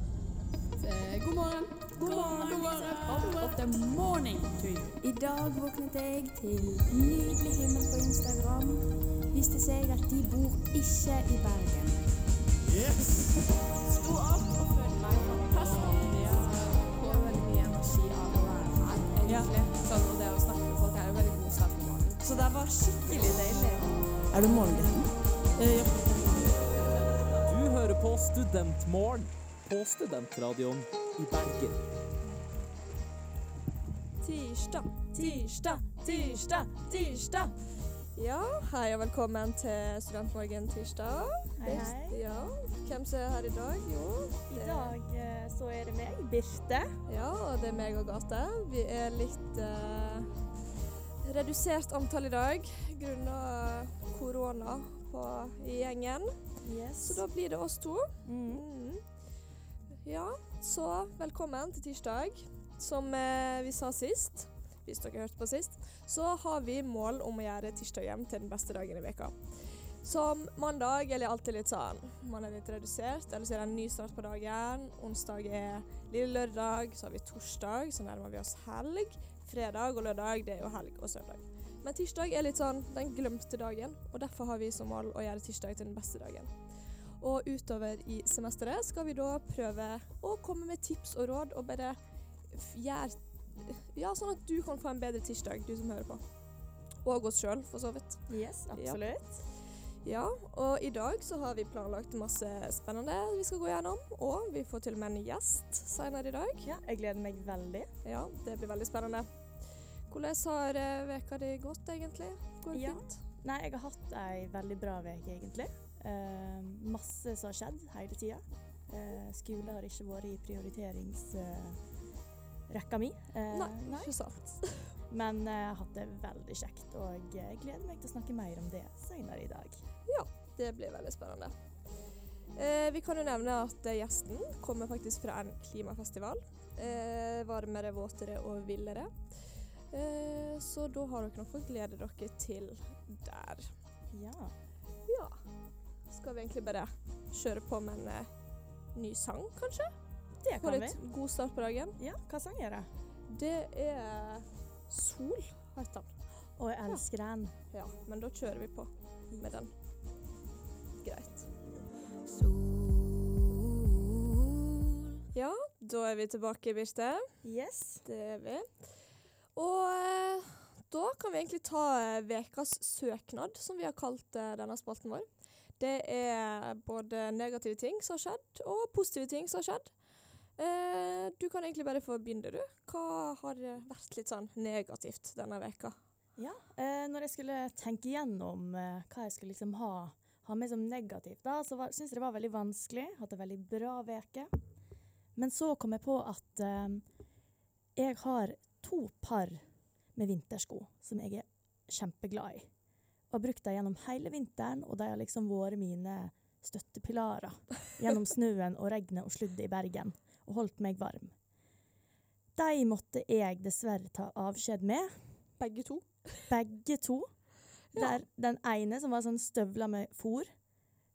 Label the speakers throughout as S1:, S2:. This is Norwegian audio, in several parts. S1: Eh, God morgen, god morgen, god morgen. Up of the morning to you.
S2: I dag våknet jeg til nydelig himmel på Instagram. Viste seg at de bor ikke i Bergen.
S1: Sto opp og følte meg fantastisk. Jeg får veldig mye energi av å være her, egentlig. Sånn, og det å snakke med folk er jo veldig god start på morgenen. Så det var skikkelig deilig.
S3: Er du morgengutten?
S4: Du hører på Studentmorgen på Studentradioen i Bergen.
S1: Tirsdag, tirsdag, tirsdag, tirsdag.
S5: Ja, hei og velkommen til Studentmorgen tirsdag.
S6: Hei, hei.
S5: Ja, hvem som er her i dag? Jo,
S6: I
S5: det,
S6: dag eh, så er det meg, Birte.
S5: ja, og det er meg og Gate. Vi er litt eh, redusert antall i dag grunnet eh, korona på- i gjengen. Så da blir det oss to.
S6: Mm.
S5: Mm. Ja, så velkommen til tirsdag. Som eh, vi sa sist, hvis dere hørte på sist, så har vi mål om å gjøre tirsdagen til den beste dagen i veka. Som mandag er det alltid litt sånn. Man er litt redusert, eller så er det en ny start på dagen. Onsdag er lille lørdag, så har vi torsdag, så nærmer vi oss helg. Fredag og lørdag, det er jo helg og søndag. Men tirsdag er litt sånn den glemte dagen, og derfor har vi som mål å gjøre tirsdag til den beste dagen. Og utover i semesteret skal vi da prøve å komme med tips og råd, og bare f- gjøre Ja, sånn at du kan få en bedre tirsdag, du som hører på. Og oss sjøl, for så vidt.
S6: Yes, absolutt.
S5: Ja, og i dag så har vi planlagt masse spennende vi skal gå gjennom, og vi får til og med en gjest senere i dag.
S6: Ja, jeg gleder meg veldig.
S5: Ja, det blir veldig spennende. Hvordan har eh, veka di gått, egentlig? Går det
S6: Ja.
S5: fint?
S6: Nei, jeg har hatt ei veldig bra uke, egentlig. Eh, masse som har skjedd hele tida. Eh, skole har ikke vært i prioriteringsrekka mi. Eh,
S5: Nei, ikke sant.
S6: Men eh, jeg har hatt det veldig kjekt, og jeg gleder meg til å snakke mer om det senere i dag.
S5: Det blir veldig spennende. Eh, vi kan jo nevne at eh, gjesten kommer faktisk fra en klimafestival. Eh, varmere, våtere og villere. Eh, så da har dere nok å glede dere til der.
S6: Ja.
S5: Ja. Skal vi egentlig bare kjøre på med en eh, ny sang, kanskje?
S6: Det
S5: Få
S6: kan vi.
S5: litt god start på dagen.
S6: Ja, hva sang er det?
S5: Det er Sol, heter den.
S6: Å, jeg elsker den.
S5: Ja, men da kjører vi på med den. Greit. Ja, da er vi tilbake, Birte.
S6: Yes.
S5: Det er vi. Og eh, da kan vi egentlig ta eh, vekas søknad, som vi har kalt eh, denne spalten vår. Det er både negative ting som har skjedd, og positive ting som har skjedd. Eh, du kan egentlig bare få begynne, du. Hva har eh, vært litt sånn negativt denne veka?
S6: Ja, eh, når jeg skulle tenke gjennom eh, hva jeg skulle liksom ha, ha med som negativt, da, så var- syntes jeg det var veldig vanskelig. Hatt en veldig bra veke. Men så kom jeg på at eh, jeg har to par med vintersko som jeg er kjempeglad i. Og har brukt dem gjennom hele vinteren, og de har liksom vært mine støttepilarer gjennom snøen og regnet og sluddet i Bergen, og holdt meg varm. De måtte jeg dessverre ta avskjed med,
S5: Begge to.
S6: begge to. Der den ene som var sånn støvla med fôr,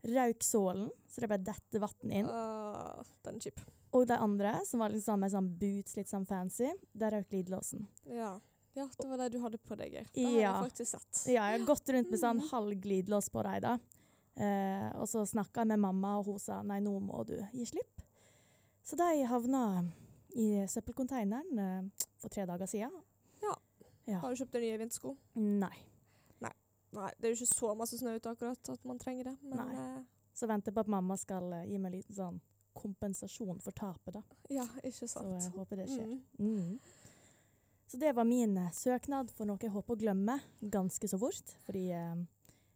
S6: røyk sålen, så det ble dette vann inn.
S5: Ah, den er kjip.
S6: Og de andre, som var litt sånn med sånn boots, litt sånn fancy, der røyk glidelåsen.
S5: Ja. ja, det var det du hadde på deg, Geir. Det har
S6: Ja.
S5: jeg faktisk sett.
S6: Ja, jeg har gått rundt med sånn halv glidelås på deg, da. Eh, og så snakka jeg med mamma, og hun sa nei, nå må du gi slipp. Så de havna i søppelkonteineren eh, for tre dager siden.
S5: Har du kjøpt deg nye vintersko?
S6: Nei.
S5: Nei, det er jo ikke så masse snø ute akkurat at man trenger det, men
S6: Nei.
S5: eh,
S6: Så venter jeg på at mamma skal eh, gi meg en liten sånn kompensasjon for tapet, da.
S5: ja,
S6: Så
S5: ikke sant.
S6: jeg håper det skjer.
S5: Mm.
S6: Mm. Så det var min eh, søknad for noe jeg håper å glemme ganske så fort. Fordi eh,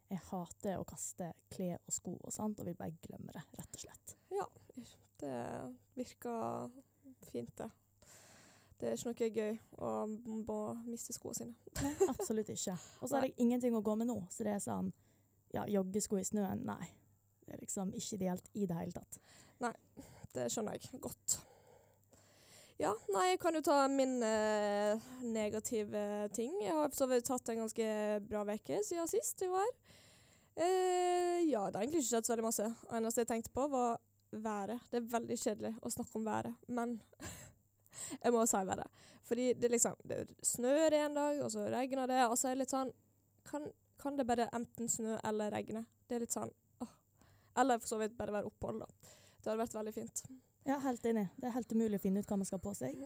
S6: jeg hater å kaste klær og sko og sånt, og vil bare glemme det, rett og slett.
S5: Det virker fint, det. Det er ikke noe gøy å må miste skoene sine.
S6: Absolutt ikke. Og så har jeg ingenting å gå med nå, så det er sånn ja, joggesko i snøen, nei. Det er liksom ikke ideelt i det hele tatt.
S5: Det skjønner jeg godt. Ja, nei, jeg kan jo ta min eh, negative ting. Jeg har for så vidt hatt en ganske bra uke siden sist vi var her. Eh, ja, det har egentlig ikke skjedd så veldig masse. Det eneste jeg tenkte på, var været. Det er veldig kjedelig å snakke om været, men jeg må si været. Fordi det liksom det snør en dag, og så regner det, og så er det litt sånn Kan, kan det bare enten snø eller regne? Det er litt sånn åh. Eller for så vidt bare være opphold, da. Det hadde vært veldig fint.
S6: Ja, helt enig. Det er helt umulig å finne ut hva man skal ha på seg.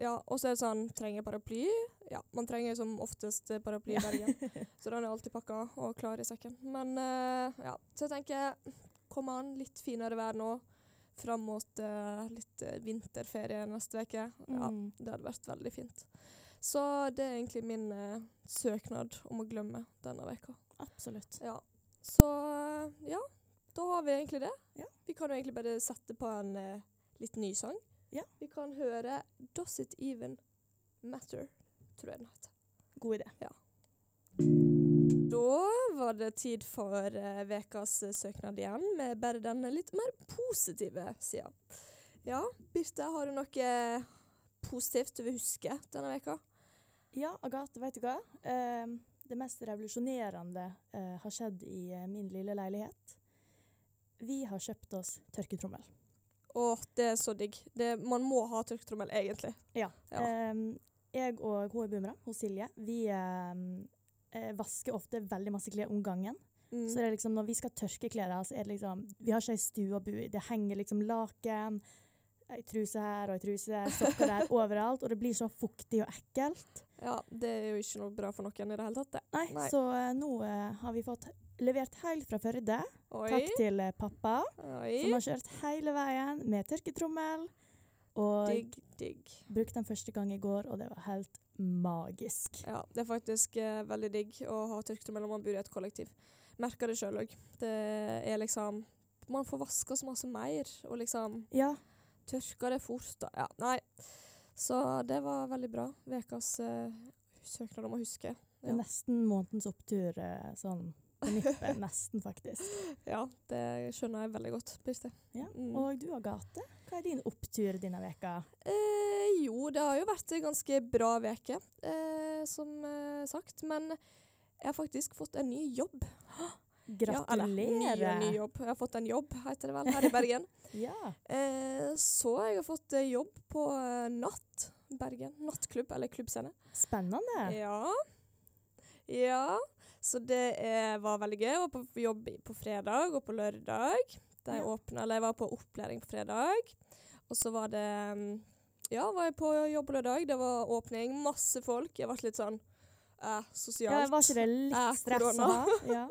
S5: Ja, og så er det sånn Trenger paraply? Ja, man trenger som oftest eh, paraply i Bergen. så den er alltid pakka og klar i sekken. Men eh, ja, så jeg tenker Kom an, litt finere vær nå. Fram mot eh, litt eh, vinterferie neste uke. Ja,
S6: Mm.
S5: det hadde vært veldig fint. Så det er egentlig min eh, søknad om å glemme denne veka.
S6: Absolutt.
S5: Ja. Så eh, ja, da har vi egentlig det.
S6: Ja.
S5: Vi kan jo egentlig bare sette på en eh, litt ny sang.
S6: Ja.
S5: Vi kan høre 'Does It Even Matter', tror jeg den heter.
S6: God idé.
S5: Da var det tid for eh, vekas eh, søknad igjen, med bare den litt mer positive sida. Ja, Birte, har du noe eh, positivt du vil huske denne veka?
S6: Ja, Agathe, vet du hva? Eh, det mest revolusjonerende eh, har skjedd i eh, min lille leilighet. Vi har kjøpt oss tørketrommel.
S5: Åh, det er så digg. Det, man må ha tørketrommel, egentlig. Ja.
S6: Eh, jeg og hun i Bumra, hun Silje, vi eh, eh, vasker ofte veldig masse klær om gangen.
S5: Mm.
S6: Så det er liksom, når vi skal tørke klærne, så er det liksom Vi har ikke ei stue å bo i. Det henger liksom laken, ei truse her og ei truse der, sokker der, overalt. Og det blir så fuktig og ekkelt.
S5: Ja, det er jo ikke noe bra for noen i det hele tatt, det.
S6: Nei,
S5: Nei.
S6: så eh, nå eh, har vi fått levert helt fra Førde.
S5: Oi,
S6: Takk til eh, pappa, som
S5: oi.
S6: har kjørt hele veien med tørketrommel. Og
S5: Digg, digg.
S6: brukte den første gang i går, og det var helt magisk.
S5: Ja, det er faktisk eh, veldig digg å ha tørketrommel når man bor i et kollektiv. Merker det sjøl òg. Det er liksom Man får vaska så masse mer, og liksom
S6: Ja,
S5: tørker det fort. Da. Ja, nei. Så det var veldig bra. Vekas eh, søknad om å huske.
S6: det er
S5: Ja.
S6: nesten månedens opptur eh, sånn på nippet. nesten, faktisk.
S5: Ja, det skjønner jeg veldig godt, Birte.
S6: Ja,
S5: Mm.
S6: Og du, Agathe, hva er din opptur denne veka?
S5: Eh, jo, det har jo vært en ganske bra veke, eh, som eh, sagt. Men jeg har faktisk fått en ny jobb. Ja,
S6: Gratulerer!
S5: eller, ny, og ny jobb. Jeg har fått en jobb, heter det vel, her i Bergen.
S6: Ja.
S5: eh, så jeg har fått eh, jobb på eh, Natt Bergen. Nattklubb, eller klubbscene.
S6: Spennende.
S5: Ja. ja. Så det eh, var veldig gøy. Jeg var på jobb i- på fredag og på lørdag. De
S6: Ja.
S5: åpna, eller jeg var på opplæring på fredag. Og så var det mm, Ja, var jeg på jobb på lørdag. Det var åpning, masse folk. Jeg ble litt sånn eh,
S6: Ja,
S5: sosialt.
S6: var ikke det
S5: Eh,
S6: litt stress å
S5: korona.
S6: ha? Ja.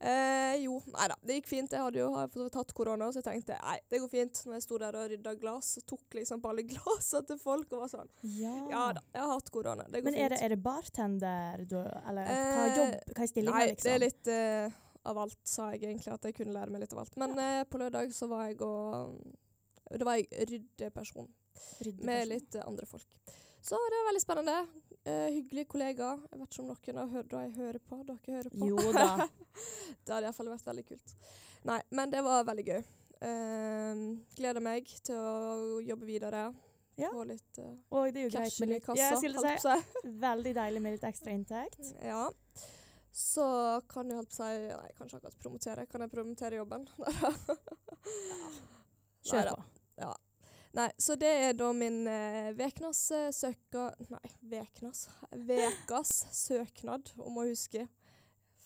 S5: Eh, jo, nei da. Det gikk fint. Jeg hadde jo har fått tatt korona, så jeg tenkte nei, det går fint. Når jeg sto der og rydda glass, og tok liksom på alle glassene til folk og var sånn Ja da, jeg har hatt korona. Det går
S6: Ah. Men er det,
S5: fint.
S6: er det bartender du Eller hva
S5: Eh,
S6: er jobb? Hva er stillinga,
S5: Nei,
S6: liksom?
S5: det er litt eh, av alt, sa jeg egentlig, at jeg kunne lære meg litt av alt. Men eh, på lørdag så var jeg og Da var jeg ryddeperson
S6: Ryddeperson.
S5: med litt eh, andre folk. Så det var veldig spennende. Eh, hyggelige kollegaer. Jeg vet ikke om noen har hørt hva jeg hører på. Dere hører på.
S6: Jo da.
S5: Det hadde iallfall vært veldig kult. Nei, men det var veldig gøy. Eh, gleder meg til å jobbe videre.
S6: Ja.
S5: Få litt eh,
S6: Og det er jo greit
S5: cash
S6: med
S5: i
S6: litt
S5: kassa.
S6: ja, jeg skulle
S5: holdt
S6: si,
S5: på å si.
S6: Veldig deilig med litt ekstra inntekt.
S5: Ja. Så kan jeg holdt på å si Nei, kanskje akkurat promotere. Kan jeg promotere jobben?
S6: Kjør
S5: Neida.
S6: på.
S5: Nei, så det er da min eh, veknas eh, søka... Nei, veknas. Vekas søknad om å huske,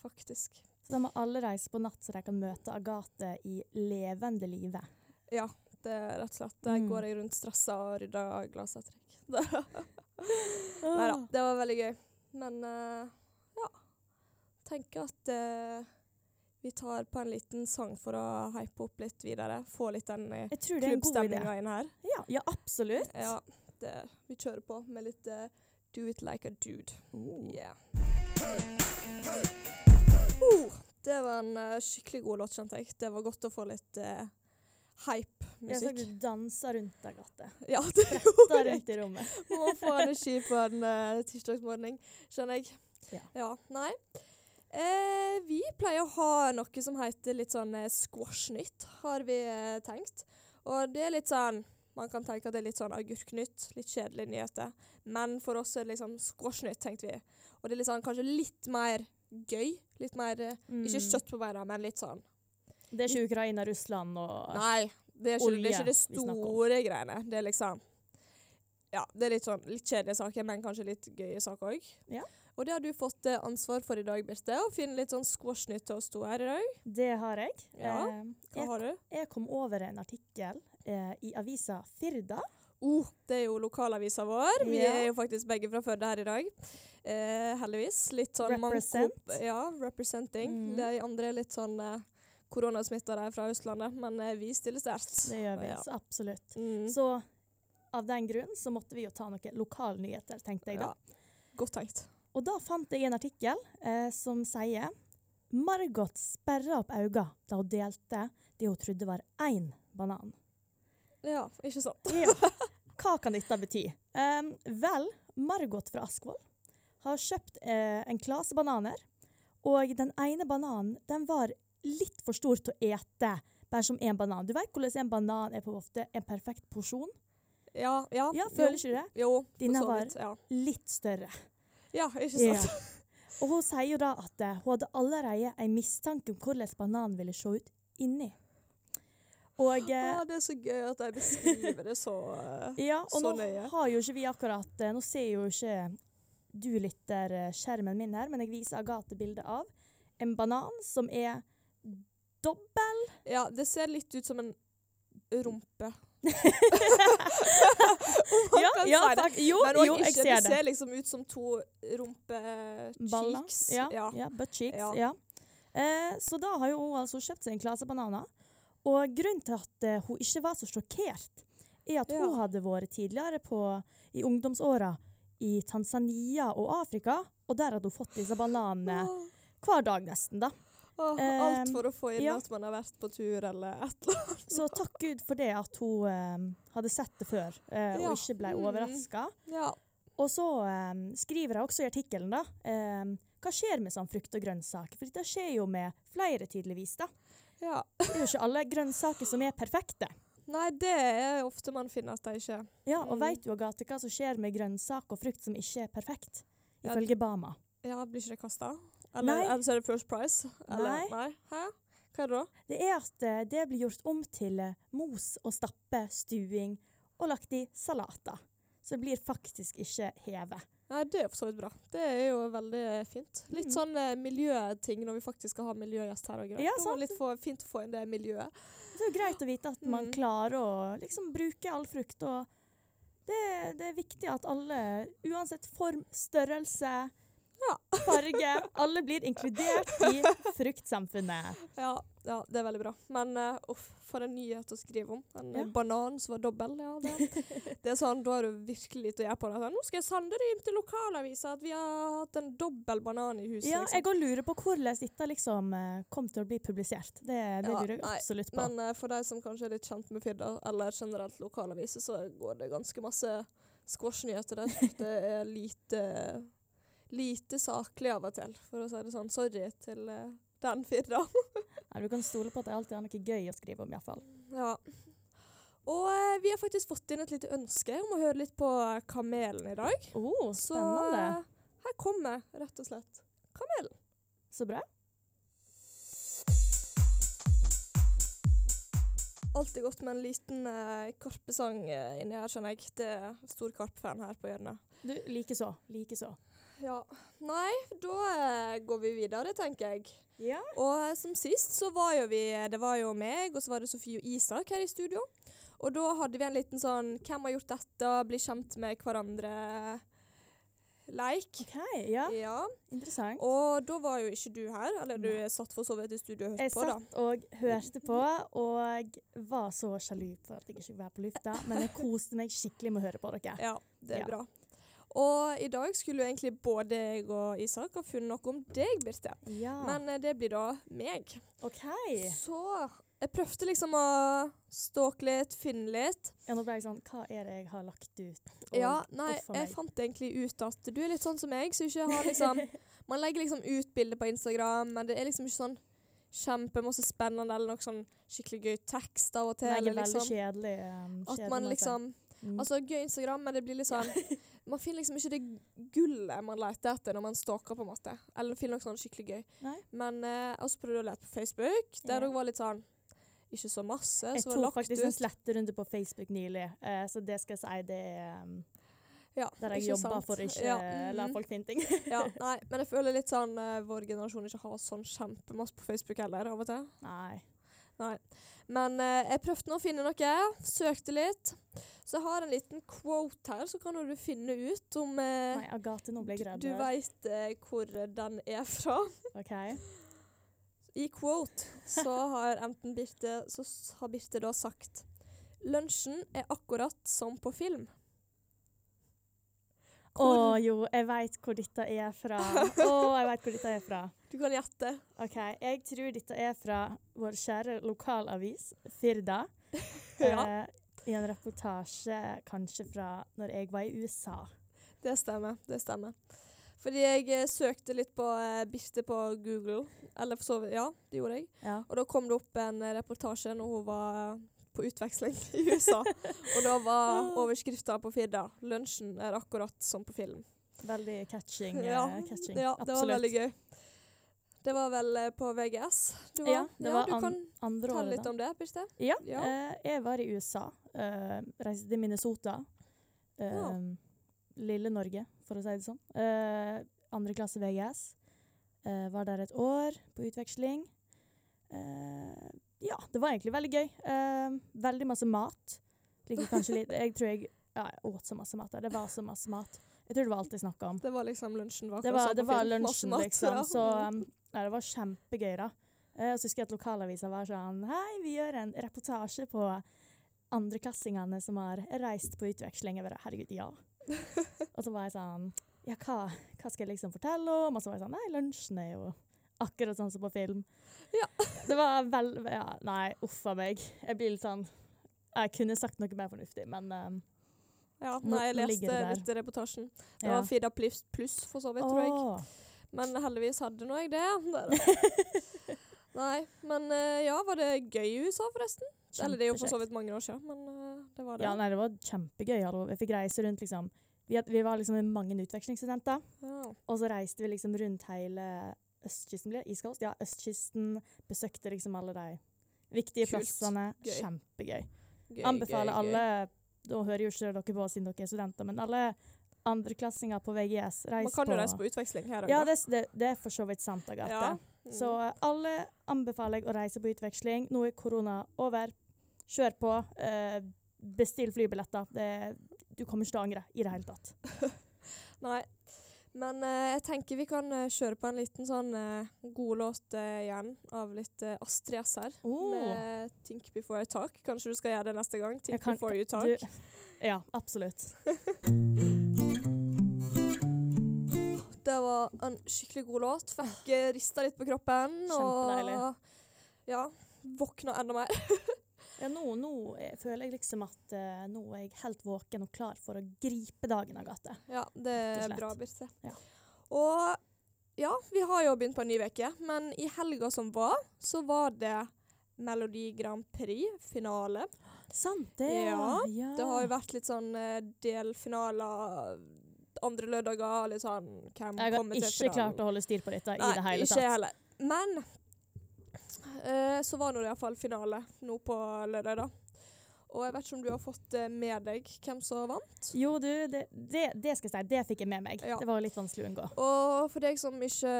S5: faktisk.
S6: Så da må alle reise på natt, så de kan møte Agathe i levende live.
S5: Det er rett og slett. Der
S6: Mm.
S5: går jeg rundt stressa og rydder glassavtrekk.
S6: Ah.
S5: Nei da, det var veldig gøy. Men eh, ja. Tenker at eh, vi tar på en liten sang for å hype opp litt videre. Få litt den uh,
S6: Jeg tror det er en god idé.
S5: klubbstemninga inn her.
S6: Ja, ja absolutt.
S5: Ja, det, vi kjører på med litt eh, Do It Like a Dude.
S6: Oh.
S5: Yeah. Oh, det var en eh, skikkelig god låt, kjente jeg. Det var godt å få litt eh,
S6: Jeg så
S5: hype-musikk.
S6: du dansa rundt, Agathe.
S5: Ja, det
S6: Da
S5: gjorde jeg.
S6: rundt i rommet.
S5: Må få energi på en eh, tirsdagsmorgen, skjønner jeg.
S6: Ja.
S5: nei. Eh, vi pleier å ha noe som heter litt sånn eh, squashnytt, har vi eh, tenkt. Og det er litt sånn Man kan tenke at det er litt sånn agurknytt, litt kjedelige nyheter. Men for oss er det liksom squashnytt, tenkte vi. Og det er litt sånn, kanskje litt mer gøy. Litt mer eh, Ikke
S6: Mm.
S5: kjøtt på beina, men litt sånn
S6: Det er ikke Ukraina, Russland og
S5: Nei, Det er ikke det,
S6: Olje
S5: er ikke det
S6: vi snakker om.
S5: store greiene. Det er liksom Ja, det er litt sånn litt kjedelige saker, men kanskje litt gøye saker òg.
S6: Ja.
S5: Og det har du fått eh, ansvar for i dag, Birte. Å finne litt sånn squash-nytt til oss to her i dag.
S6: Det har jeg.
S5: Ja,
S6: Eh,
S5: Hva
S6: jeg,
S5: har du?
S6: jeg kom over en artikkel eh, i avisa Firda.
S5: Oh, det er jo lokalavisa vår. Vi
S6: Ja.
S5: er jo faktisk begge fra Førde her i dag. Eh, heldigvis. Litt sånn manko-
S6: Represent.
S5: Ja, representing.
S6: Mm.
S5: De andre er litt sånn eh, koronasmitta der fra Østlandet, men eh, vi stiller sterkt.
S6: Det gjør vi,
S5: Ja.
S6: så absolutt.
S5: Mm.
S6: Så av den grunn så måtte vi jo ta noen lokalnyheter, tenkte jeg da.
S5: Ja. Godt tenkt.
S6: Og da fant jeg en artikkel eh, som sier Margot sperra opp øynene da hun delte det hun trodde var én banan.
S5: Ja, ikke sant?
S6: Ja. Hva kan dette bety? Um, vel, Margot fra Askvoll har kjøpt eh, en klase bananer, og den ene bananen den var litt for stor til å ete bare som én banan. Du vet hvordan en banan er på ofte en perfekt porsjon?
S5: Ja, ja.
S6: Ja,
S5: Jo.
S6: Føler ikke du det?
S5: Jo,
S6: Dine
S5: for så
S6: var-
S5: vidt. Ja,
S6: Litt større.
S5: ja ikke sant?
S6: Og hun sier jo da at eh, hun hadde allerede en mistanke om hvordan bananen ville se ut inni. Og, eh,
S5: Ja, det er så gøy at de beskriver det så eh,
S6: ja, og nå
S5: Ah, så nøye.
S6: har jo ikke vi akkurat eh, Nå ser jo ikke du lytter eh, skjermen min her, men jeg viser Agathe bilde av en banan som er dobbel
S5: Ja, det ser litt ut som en rumpe. Om man
S6: Ja,
S5: kan
S6: ja
S5: si det.
S6: fakt- jo,
S5: Men også
S6: jo, jeg
S5: ikke,
S6: ser
S5: det
S6: det.
S5: ser liksom ut som to
S6: Baller.
S5: rumpe-cheeks.
S6: Ja, ja. butt cheeks.
S5: Ja.
S6: Ja. Eh, så da har jo hun altså kjøpt seg en klase bananer. Og grunnen til at eh, hun ikke var så sjokkert, er at hun
S5: Ja.
S6: hadde vært tidligere på, i ungdomsåra i Tanzania og Afrika, og der hadde hun fått disse bananene
S5: Åh,
S6: hver dag nesten, da.
S5: åh, alt
S6: Ehm,
S5: for å få inn
S6: ja.
S5: at man har vært på tur eller et eller annet.
S6: Så takk Gud for det at hun eh, hadde sett det før, eh,
S5: Ja.
S6: og ikke ble
S5: Mm.
S6: overraska.
S5: Ja.
S6: Og så eh, skriver jeg også i artikkelen, da. eh, hva skjer med sånn frukt og grønnsaker? For det skjer jo med flere, tydeligvis. da.
S5: ja.
S6: Det er jo ikke alle grønnsaker som er perfekte.
S5: Nei, det er ofte man finner at de ikke
S6: Ja, Og
S5: Mm.
S6: veit du Agathe, hva som skjer med grønnsak og frukt som ikke er perfekt?
S5: Ja,
S6: Ifølge Bama.
S5: Ja, blir ikke det kasta? Eller,
S6: Nei.
S5: eller så er det First Price? Eller,
S6: Nei.
S5: nei. Hæ? Hva er det da?
S6: Det er at eh, det blir gjort om til eh, mos og stappe, stuing og lagt i salater. Så det blir faktisk ikke hevet.
S5: Nei, det er for så vidt bra. Det er jo veldig eh, fint. Litt
S6: Mm.
S5: sånn eh, miljøting når vi faktisk skal ha miljøgjest her. og greit.
S6: Ja,
S5: Det var
S6: sant.
S5: litt for, fint å få inn det miljøet.
S6: Det er jo greit å vite at man
S5: Mm.
S6: klarer å liksom bruke all frukt. og det, det er viktig at alle, uansett form, størrelse, farge, alle blir inkludert i fruktsamfunnet.
S5: Ja, ja, det er veldig bra. Men eh, uff, for en nyhet å skrive om. En eh,
S6: Ja.
S5: banan som var dobbel. Ja, det, det er sånn, da har du virkelig lite å gjøre på det. Sånn, Nå skal jeg sende det inn til lokalavisa at vi har hatt en dobbel banan i huset.
S6: Ja,
S5: liksom.
S6: jeg går lurer på hvordan dette liksom eh, kom til å bli publisert. Det, det
S5: Ja,
S6: lurer jeg
S5: nei,
S6: absolutt på.
S5: Men eh, for de som kanskje er litt kjent med Firda, eller generelt lokalaviser, så går det ganske masse squash-nyheter der. Det er lite, lite saklig av og til, for å si det sånn. Sorry til eh, den Firda.
S6: Nei, du kan stole på at jeg alltid har noe gøy å skrive om, iallfall.
S5: ja. Og eh, vi har faktisk fått inn et lite ønske om å høre litt på eh, Kamelen i dag.
S6: Oh,
S5: Så
S6: spennende.
S5: eh, her kommer rett og slett Kamelen.
S6: Så bra.
S5: Alltid godt med en liten eh, karpesang eh, inni her, skjønner jeg. Det er stor karpefan her på hjørnet.
S6: Du, likeså. Likeså.
S5: Ja. Nei, da eh, går vi videre, tenker jeg.
S6: Ja.
S5: Og eh, som sist så var jo vi eh, Det var jo meg, og så var det Sofie og Isak her i studio. Og da hadde vi en liten sånn 'Hvem har gjort dette?' bli kjent med hverandre-leik.
S6: OK, ja.
S5: Ja.
S6: Interessant.
S5: Og da var jo ikke du her. Eller du satt for så vidt i studio og
S6: Jeg
S5: hørte på, da.
S6: satt og hørte på og var så sjalu for at jeg ikke var på lufta, men jeg koste meg skikkelig med å høre på dere.
S5: Ja, det er
S6: Ja.
S5: bra. Og i dag skulle jo egentlig både jeg og Isak ha funnet noe om deg, Birte.
S6: Ja,
S5: Men eh, det blir da meg.
S6: OK.
S5: Så jeg prøvde liksom å stalke litt, finne litt.
S6: Ja, nå ble jeg sånn Hva er det jeg har lagt ut? Og
S5: Ja, nei,
S6: uff a
S5: jeg
S6: meg.
S5: fant egentlig ut at du er litt sånn som meg, så ikke har liksom Man legger liksom ut bilder på Instagram, men det er liksom ikke sånn kjempemasse spennende eller noe sånn skikkelig gøy tekst av og til.
S6: Nei, jeg
S5: Eller
S6: er veldig
S5: liksom
S6: kjedelig. um,
S5: at
S6: kjedelig
S5: man
S6: måte.
S5: liksom
S6: Mm.
S5: Altså, gøy Instagram, men det blir litt sånn Man finner liksom ikke det gullet man leter etter når man stalker, på en måte. Eller finner noe sånn skikkelig gøy.
S6: Nei.
S5: Men eh, jeg også prøvde å lete på Facebook, der
S6: Ja.
S5: det var litt sånn ikke så masse.
S6: Jeg
S5: som var
S6: tok
S5: lagt
S6: faktisk en
S5: ut.
S6: sletterunde på Facebook nylig, eh, så det skal jeg si det er um,
S5: Ja,
S6: der jeg
S5: ikke
S6: jobber
S5: sant.
S6: for å ikke
S5: Ja,
S6: eh, la
S5: mhm.
S6: folk finne ting.
S5: ja, nei, men jeg føler litt sånn eh, vår generasjon ikke har sånn kjempemasse på Facebook heller, av og til.
S6: Nei.
S5: Men eh, jeg prøvde nå å finne noe, søkte litt. Så jeg har en liten quote her, så kan jo du finne ut om eh,
S6: Nei, Agathe, nå ble jeg redd.
S5: du
S6: her.
S5: veit eh, hvor den er fra.
S6: Ok.
S5: I quote så har enten Birte Så s- har Birte da sagt Lunsjen er akkurat som på film.
S6: Å
S5: Hvor-
S6: jo, jeg veit hvor dette er fra. Å, jeg veit hvor dette er fra.
S5: Du kan gjette.
S6: OK, jeg tror dette er fra vår kjære lokalavis, Firda.
S5: Ja,
S6: Eh, I en reportasje kanskje fra når jeg var i USA.
S5: det stemmer. Det stemmer. Fordi jeg eh, søkte litt på eh, Birte på Google. Eller for så vidt Ja, det gjorde jeg.
S6: Ja.
S5: Og da kom det opp en eh, reportasje når hun var eh, på utveksling i USA. Og da
S6: Ah.
S5: var overskrifta på Firda 'Lunsjen er akkurat som på film'.
S6: Veldig catching. eh,
S5: Ja,
S6: catching.
S5: Ja, det var
S6: Absolutt.
S5: veldig gøy. Det var vel eh, på VGS. Du var,
S6: Ja, det var
S5: du
S6: an-
S5: kan
S6: Andre
S5: ta
S6: året,
S5: litt
S6: da.
S5: om det, Birte.
S6: Ja,
S5: Ja.
S6: eh, jeg var i USA. eh, reiste til Minnesota. Eh,
S5: Ja.
S6: Lille Norge, for å si det sånn. Eh, andre klasse VGS. Eh, var der et år på utveksling. Eh, ja, det var egentlig veldig gøy. Eh, veldig masse mat. Ligger kanskje litt Jeg tror jeg ja, jeg åt så masse mat der. Det var så masse mat. Jeg tror det var alt jeg snakka om.
S5: Det var liksom lunsjen vår.
S6: Det
S5: og så
S6: var,
S5: på
S6: det var
S5: film.
S6: lunsjen,
S5: Masse mat,
S6: liksom.
S5: ja.
S6: Så um, nei, det var kjempegøy, da. Eh, Og så husker jeg at lokalavisa var sånn Hei, vi gjør en reportasje på andreklassingene som har reist på utveksling. Jeg bare Herregud, ja. og så var jeg sånn Ja, hva, hva skal jeg liksom fortelle om? Og så var jeg sånn Nei, lunsjen er jo akkurat sånn som på film.
S5: Ja.
S6: det var vel ja, Nei, uff a meg. Jeg blir litt sånn Jeg kunne sagt noe mer fornuftig, men um,
S5: ja,
S6: Nå-
S5: nei, jeg
S6: nå ligger
S5: leste
S6: det der.
S5: litt i reportasjen. Det
S6: ja.
S5: var Fida pluss, pluss for så vidt, tror jeg.
S6: Åh.
S5: Men heldigvis hadde nå jeg det. Der. Nei, men eh, ja, var det gøy i USA, forresten? Eller det er jo for så vidt mange år siden, men eh, det var det.
S6: Ja, nei, det var kjempegøy. hallo. Jeg fikk reise rundt, liksom. Vi, had- vi var liksom mange utvekslingsstudenter,
S5: Ja.
S6: og så reiste vi liksom rundt hele østkysten. Blir det East Coast? Ja, østkysten. Besøkte liksom alle de viktige
S5: Kult.
S6: plassene.
S5: Gøy.
S6: Kjempegøy.
S5: Gøy,
S6: Anbefaler
S5: gøy, gøy.
S6: alle Da hører jo ikke dere på siden dere er studenter, men alle andreklassinger på VGS, reis
S5: Man kan jo reise på utveksling her
S6: Ja, det, det, det er for så vidt sant, Agathe.
S5: Ja. Mm.
S6: Så eh, alle anbefaler jeg å reise på utveksling. Nå er korona over. Kjør på. Eh, bestill flybilletter. Det, du kommer ikke til å angre i det hele tatt.
S5: Nei. Men eh, jeg tenker vi kan eh, kjøre på en liten sånn eh, god låt eh, igjen av litt eh, Astrid S her. Med eh, Think Before I Talk. Kanskje du skal gjøre det neste gang?
S6: Jeg
S5: Think
S6: kan-
S5: Before You Talk.
S6: du- Ja, absolutt.
S5: Det var en skikkelig god låt. Fikk eh, rista litt på kroppen.
S6: Kjempedeilig.
S5: Og ja, våkna enda mer.
S6: Ja, nå, nå eh, føler jeg liksom at eh, nå er jeg helt våken og klar for å gripe dagen, Agathe.
S5: Ja, det
S6: Rett og
S5: er
S6: slett.
S5: bra, Birte.
S6: Ja.
S5: Og ja, vi har jo begynt på en ny uke, men i helga som var, så var det Melodi Grand Prix-finale.
S6: Sant det.
S5: Ja,
S6: ja.
S5: Det har jo vært litt sånn eh, delfinaler andre lørdager. Litt sånn hvem
S6: Jeg har
S5: kommer til
S6: ikke klart å holde styr på dette i det hele
S5: ikke jeg
S6: tatt.
S5: heller. Men eh, så var nå det iallfall finale nå på lørdag, da. Og jeg vet ikke om du har fått eh, med deg hvem som vant?
S6: Jo, du, det, det, det skal jeg si. Det fikk jeg med meg.
S5: Ja.
S6: Det var litt vanskelig å unngå.
S5: Og for deg som ikke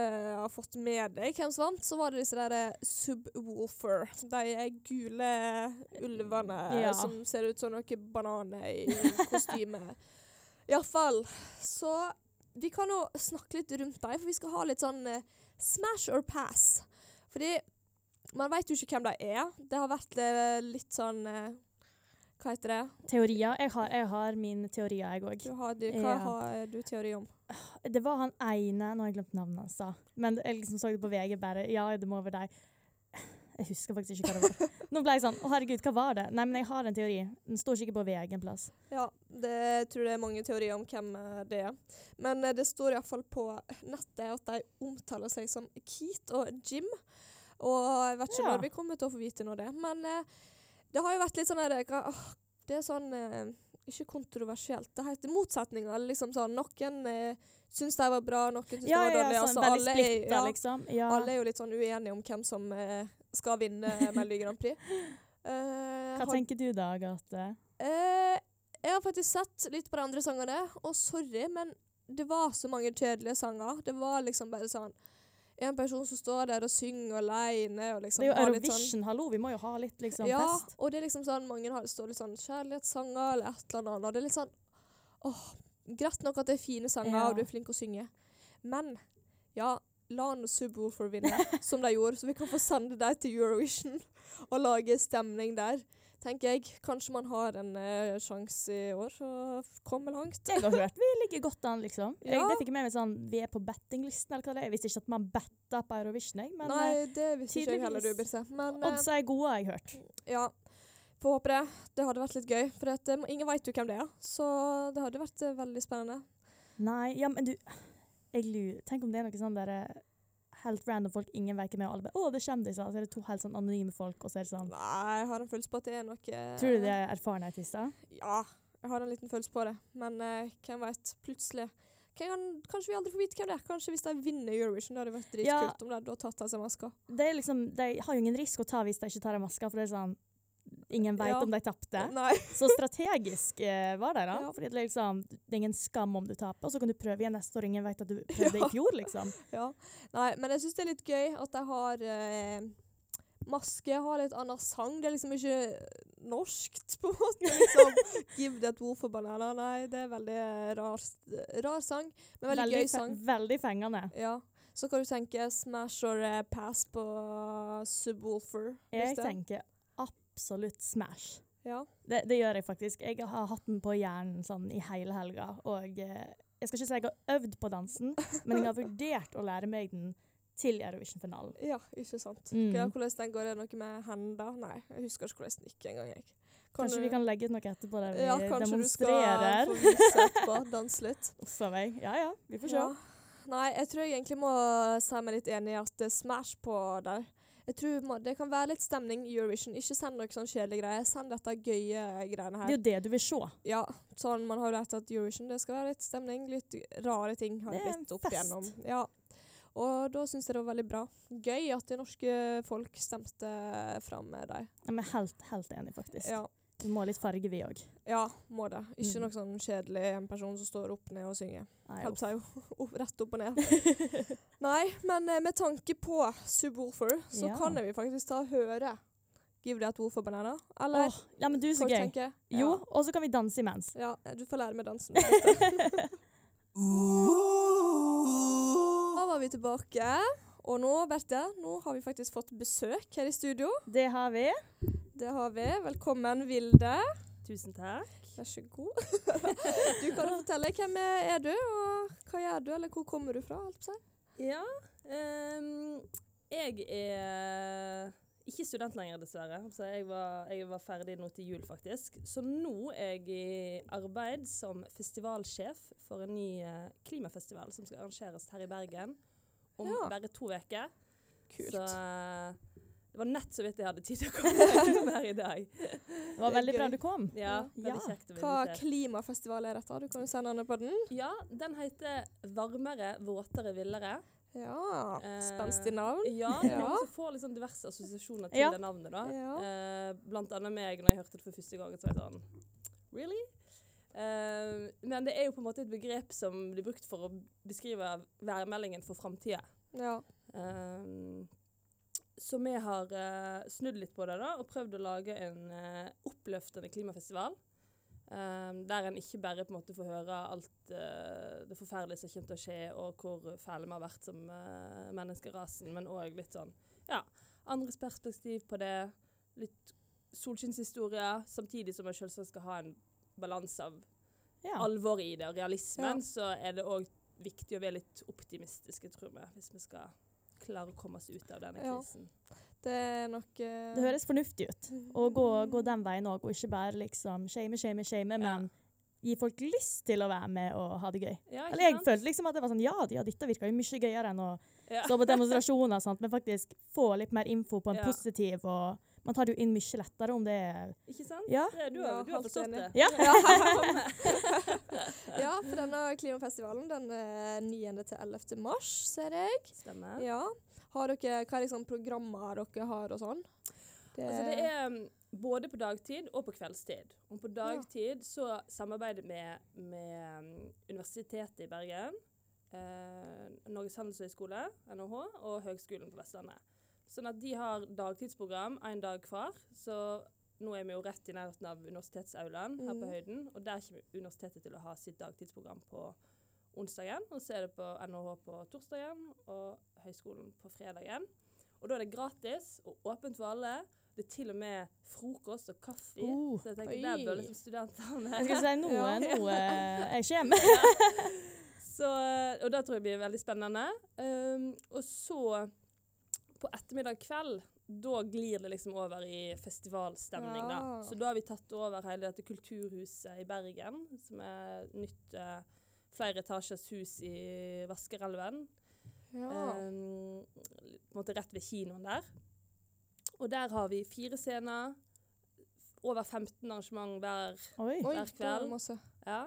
S5: har fått med deg hvem som vant, så var det disse der eh, Subwoolfer. De eh, gule ulvene eh,
S6: Ja.
S5: som ser ut som noen bananer i kostyme. Iallfall. Så vi kan jo snakke litt rundt dem, for vi skal ha litt sånn eh, smash or pass. Fordi man veit jo ikke hvem de er. Det har vært eh, litt sånn eh, Hva heter det?
S6: Teorier. Jeg har, jeg har mine teorier, jeg òg.
S5: Du har, de- hva
S6: Ja.
S5: har du teori om?
S6: Det var han ene Nå har jeg glemt navnet hans, da. Men jeg liksom så det på VG bare Ja, det må være deg. Jeg husker faktisk ikke hva det var. Nå ble jeg sånn Å, herregud, hva var det? Nei, men jeg har en teori. Den står sikkert på VG en plass.
S5: Ja, det jeg tror det er mange teorier om hvem eh, det er. Men eh, det står iallfall på nettet at de omtaler seg som Keat og Jim. Og jeg vet ikke
S6: Ja.
S5: når vi kommer til å få vite nå det. Men eh, det har jo vært litt sånn her, eh, hva- åh, Det er sånn eh, Ikke kontroversielt. Det heter motsetninger. Liksom sånn Noen eh, syns de var bra, noen syns
S6: Ja,
S5: de var
S6: ja,
S5: dårlige.
S6: ja, sånn
S5: altså,
S6: veldig
S5: alle er-
S6: splitta,
S5: ja,
S6: liksom. Ja.
S5: alle er jo litt sånn uenige om hvem som eh, skal vinne Melodi Grand Prix. Eh,
S6: Hva
S5: har-
S6: tenker du da, Agathe?
S5: Eh, jeg har faktisk sett litt på de andre sangene, og sorry, men det var så mange kjedelige sanger. Det var liksom bare sånn En person som står der og synger alene og liksom
S6: Det er jo
S5: har litt
S6: Eurovision, hallo, vi må jo ha litt liksom,
S5: ja,
S6: fest.
S5: og det er liksom sånn mange har, står litt sånn kjærlighetssanger eller et eller annet, og det er litt sånn åh, Greit nok at det er fine sanger,
S6: Ja.
S5: og du er flink å synge, men ja, la nå Subwoolfer vinne, som de gjorde, så vi kan få sende dem til Eurovision og lage stemning der. Tenker jeg, Kanskje man har en eh, sjanse i år, så komme langt.
S6: Jeg har hørt vi ligger godt an, liksom. Jeg,
S5: Ja.
S6: det fikk jeg med meg sånn Vi er på bettinglisten, eller hva det er. Jeg visste ikke at man betta på Eurovision, jeg. Men eh,
S5: Nei, det visste ikke jeg heller, du,
S6: tydeligvis.
S5: Birte. Men eh,
S6: oddsa er gode, har jeg hørt.
S5: ja, får håpe det. Det hadde vært litt gøy, for at, eh, ingen veit jo hvem det er. Så det hadde vært eh, veldig spennende.
S6: Nei, ja, men du jeg lurer. Tenk om det er noe sånn derre helt random folk ingen veit hvem er, og alle bare 'Å, det er kjendiser', så er det to helt sånn anonyme folk, og så er det sånn
S5: Nei, jeg har en følelse på at det er noe
S6: Tror du det er erfarne artister?
S5: Ja, jeg har en liten følelse på det. Men eh, hvem vet, plutselig kan, Kanskje vi aldri får vite hvem det er. Kanskje hvis de vinner Eurovision, det hadde vært
S6: Ja.
S5: dritkult om de hadde tatt av seg maska.
S6: Det er liksom, de har jo ingen risk å ta hvis de ikke tar av maska, for det er sånn Ingen veit
S5: Ja.
S6: om de tapte.
S5: Nei.
S6: Så strategisk eh, var det, da.
S5: Ja.
S6: Fordi det, er liksom, det er ingen skam om du taper, og så kan du prøve igjen neste år. Ingen vet at du prøvde i fjor, liksom.
S5: Ja. Nei, men jeg syns det er litt gøy at de har eh, maske, har litt annen sang. Det er liksom ikke norskt, på en måte. Liksom, Give that wolf a banana. Nei, det er veldig rar, rar sang, men veldig, gøy
S6: fe-
S5: sang.
S6: veldig fengende.
S5: Ja. Så hva du tenker Smash or eh, pass på Subwoolfer?
S6: Jeg
S5: Birte?
S6: tenker absolutt smash.
S5: Ja.
S6: Det, det gjør jeg faktisk. Jeg har hatt den på hjernen sånn i hele helga, og eh, jeg skal ikke si jeg har øvd på dansen, men jeg har vurdert å lære meg den til Eurovision-finalen.
S5: ja, ikke sant.
S6: Mm.
S5: Ja, hvordan den går, er det noe med hender? Nei, jeg husker ikke hvordan den gikk engang. jeg. Kan
S6: Kanskje
S5: du-
S6: vi kan eh, legge ut noe etterpå der vi
S5: ja, kanskje du skal
S6: demonstrerer.
S5: få vise etterpå, danse litt.
S6: Som jeg. Ja ja, vi får se.
S5: Ja. Nei, jeg tror jeg egentlig må si meg litt enig i at det er Smash på der. Jeg tror må, Det kan være litt stemning i Eurovision. Ikke send noe sånn kjedelige greier. Send dette gøye
S6: Det er
S5: greiene her.
S6: jo det du vil se.
S5: Ja, sånn Man har jo lært at Eurovision det skal være litt stemning. Litt rare ting har
S6: Det
S5: det
S6: er en
S5: blitt opp
S6: fest.
S5: igjennom. Ja. Og da syns jeg det var veldig bra. Gøy at det norske folk stemte fram med dem.
S6: Jeg er helt, helt enig, faktisk.
S5: Ja.
S6: Vi må ha litt farge, vi òg.
S5: ja, må det. Ikke
S6: Mm.
S5: noe sånn kjedelig en person som står opp ned og synger.
S6: Nei,
S5: Help seg jo opp, rett opp og ned. Nei, men eh, med tanke på Subwoolfer, så
S6: Ja.
S5: kan vi faktisk ta og høre Give that wolf a banana.
S6: Åh,
S5: Eller
S6: ja, men du, så
S5: hva
S6: gøy.
S5: tenker jeg? Ja.
S6: Jo, og så kan vi danse imens.
S5: Ja, du får lære meg dansen. Birte. Da var vi tilbake. Og nå, Berthe, nå har vi faktisk fått besøk her i studio.
S6: Det har vi.
S5: Det har vi. Velkommen, Vilde.
S3: Tusen takk.
S5: Vær så god. Du kan jo fortelle hvem er du, og hva gjør du, eller hvor kommer du fra? Alt på seg.
S3: Ja, ehm, jeg er ikke student lenger, dessverre. Så jeg, var, jeg var ferdig nå til jul, faktisk. Så nå er jeg i arbeid som festivalsjef for en ny eh, klimafestival som skal arrangeres her i Bergen om
S5: Ja.
S3: bare to uker.
S5: Kult.
S3: Så eh, det var nett så vidt jeg hadde tid til å komme her i dag.
S6: Det var veldig
S5: Gøy.
S6: bra du kom.
S3: Ja,
S6: Ja.
S3: veldig kjekt å bli
S5: Hva
S3: invitert.
S5: klimafestival er dette? Du kan jo si navnet på den.
S3: Ja, den heter Varmere, våtere, villere.
S5: Ja.
S3: Eh,
S5: Spenstig navn.
S3: Ja,
S5: Ja.
S3: ja. Du får liksom diverse assosiasjoner til
S6: Ja.
S3: det navnet. da.
S5: Ja.
S3: Eh, blant annet meg, når jeg hørte det for første gang. Så var jeg sånn, really? Eh, men det er jo på en måte et begrep som blir brukt for å beskrive værmeldingen for framtida.
S5: Ja.
S3: Ehm, så vi har eh, snudd litt på det da, og prøvd å lage en eh, oppløftende klimafestival. eh, der en ikke bare på en måte får høre alt eh, det forferdelige som kommer til å skje, og hvor fæle vi har vært som eh, menneskerasen, men òg litt sånn ja, andres perspektiv på det. Litt solskinnshistorier, samtidig som en selvsagt skal ha en balanse av
S6: Ja.
S3: alvoret i det og realismen,
S5: Ja.
S3: så er det òg viktig å være litt optimistiske, tror vi, hvis vi skal klare å komme oss ut av denne
S5: Ja.
S3: krisen.
S5: Det er nok eh,
S6: Det høres fornuftig ut å gå, gå den veien òg, og ikke bare liksom shame, shame, shame,
S3: Ja.
S6: men gi folk lyst til å være med og ha det gøy.
S3: Ja, ikke
S6: Eller jeg
S3: sant?
S6: følte liksom at det var sånn Ja, ja dette virka jo mye gøyere enn å
S3: Ja.
S6: stå på demonstrasjoner og sånt, men faktisk få litt mer info på en
S3: Ja.
S6: positiv og Man tar det jo inn mye lettere om det er
S3: Ikke sant?
S6: Ja.
S3: Det, du,
S5: Ja,
S3: har, du har
S5: helt
S3: forstått det.
S5: enig.
S6: Ja!
S5: Ja, for eh, denne klimafestivalen den er 9. til 11. mars, ser jeg.
S3: Stemmer.
S5: Ja. Har dere, hva er liksom programmer dere har og sånn? Det,
S3: Altså det er mm, både på dagtid og på kveldstid. Og på dagtid så samarbeider vi med mm, Universitetet i Bergen, eh, Norges handelshøyskole, NHH, og Høgskolen på Vestlandet. Sånn at de har dagtidsprogram én dag hver. Så nå er vi jo rett i nærheten av universitetsaulaen her på høyden, og der kommer universitetet til å ha sitt dagtidsprogram på onsdagen, og så er det på NHH på torsdagen og høyskolen på fredagen. Og da er det gratis og åpent for alle. Det er til og med frokost og kaffe.
S6: Oh.
S3: så jeg tenker,
S5: Oi.
S3: der bør liksom studentene
S6: Jeg skal si noe,
S5: Ja.
S6: noe jeg kommer.
S3: så, eh, og det tror jeg blir veldig spennende. Um, og så på ettermiddag kveld, da glir det liksom over i festivalstemning, da.
S5: Ja.
S3: Så da har vi tatt over hele dette kulturhuset i Bergen, som er et nytt eh, flere etasjers hus i Vaskerelven.
S5: ja.
S3: Um, på en måte rett ved kinoen der. Og der har vi fire scener, over 15 arrangement hver.
S6: Oi.
S5: Oi,
S3: hver
S5: det var
S3: kveld.
S5: masse.
S3: Ja.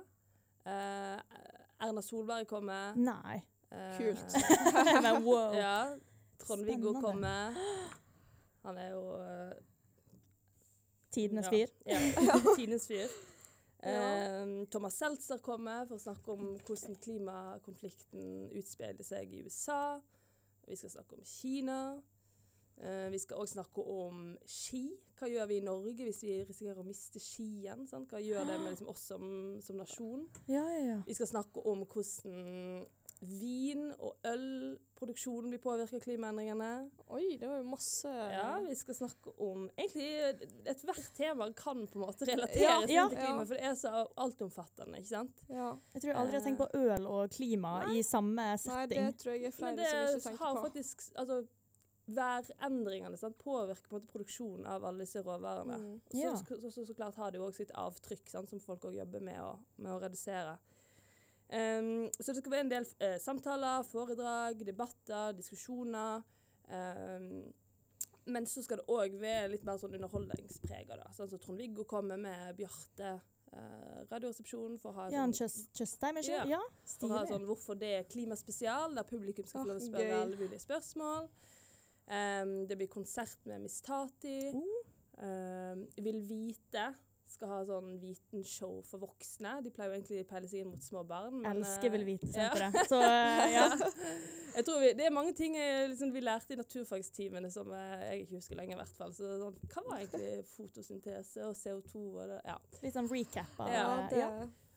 S3: Eh, Erna Solberg kommer.
S6: Nei.
S3: Eh,
S5: Kult.
S6: Men wow.
S3: Ja. Trond-Viggo
S6: Spennende.
S3: kommer. Han er jo eh,
S6: Tidenes
S3: ja,
S6: fyr.
S3: Ja. Tidenes fyr. Eh, Thomas Seltzer kommer for å snakke om hvordan klimakonflikten utspiller seg i USA. Vi skal snakke om Kina. Eh, vi skal òg snakke om ski. Hva gjør vi i Norge hvis vi risikerer å miste skien? Sant? Hva gjør det med liksom, oss som, som nasjon?
S6: Ja, ja, ja.
S3: Vi skal snakke om hvordan vin- og ølproduksjonen blir påvirket av klimaendringene.
S5: Oi, det var jo masse
S3: Ja, vi skal snakke om Egentlig ethvert tema kan på en måte relateres
S5: Ja,
S3: inn
S6: ja.
S3: til klima,
S5: Ja.
S3: for det er så altomfattende, ikke sant?
S5: Ja.
S6: Jeg tror jeg aldri jeg har tenkt
S3: Eh.
S6: på øl og klima i samme
S5: Nei, det
S6: setting.
S5: tror jeg er flere
S3: Men det
S5: som ikke tenker
S3: har
S5: på.
S3: faktisk Altså, værendringene sant? påvirker på en måte produksjonen av alle disse råvarene.
S5: Mm.
S3: Så,
S6: Ja.
S3: så, så, så, så klart har det jo også sitt avtrykk, sant? som folk også jobber med å, med å redusere. Ehm, så det skal være en del eh, samtaler, foredrag, debatter, diskusjoner. ehm, men så skal det òg være litt mer sånn underholdningspreg av det. Sånn som Trond-Viggo kommer med Bjarte eh, Radioresepsjonen for å ha
S6: Ja, en
S3: sånn,
S6: Tjøs- Tjøstheim, ikke
S3: Ja.
S6: Ja,
S3: for å ha
S6: stilig.
S3: sånn Hvorfor det er klimaspesial, der publikum skal
S5: Åh,
S3: få lov å spørre
S5: gøy.
S3: alle mulige spørsmål. Ehm, det blir konsert med Miss Tati. Ehm, vil vite skal ha sånn vitenshow for voksne. De pleier jo egentlig å peile seg inn mot små barn. men, eh,
S6: Elsker Vil
S3: ja.
S6: vite-senteret. Så eh, ja.
S3: Jeg tror vi, Det er mange ting eh, liksom, vi lærte i naturfagstimene som eh, jeg ikke husker lenger. i hvert fall. Så, sånn, hva var egentlig fotosyntese og CO2? Og det, ja.
S6: Litt sånn recap av
S5: Ja,
S6: eh,
S5: det
S6: ja.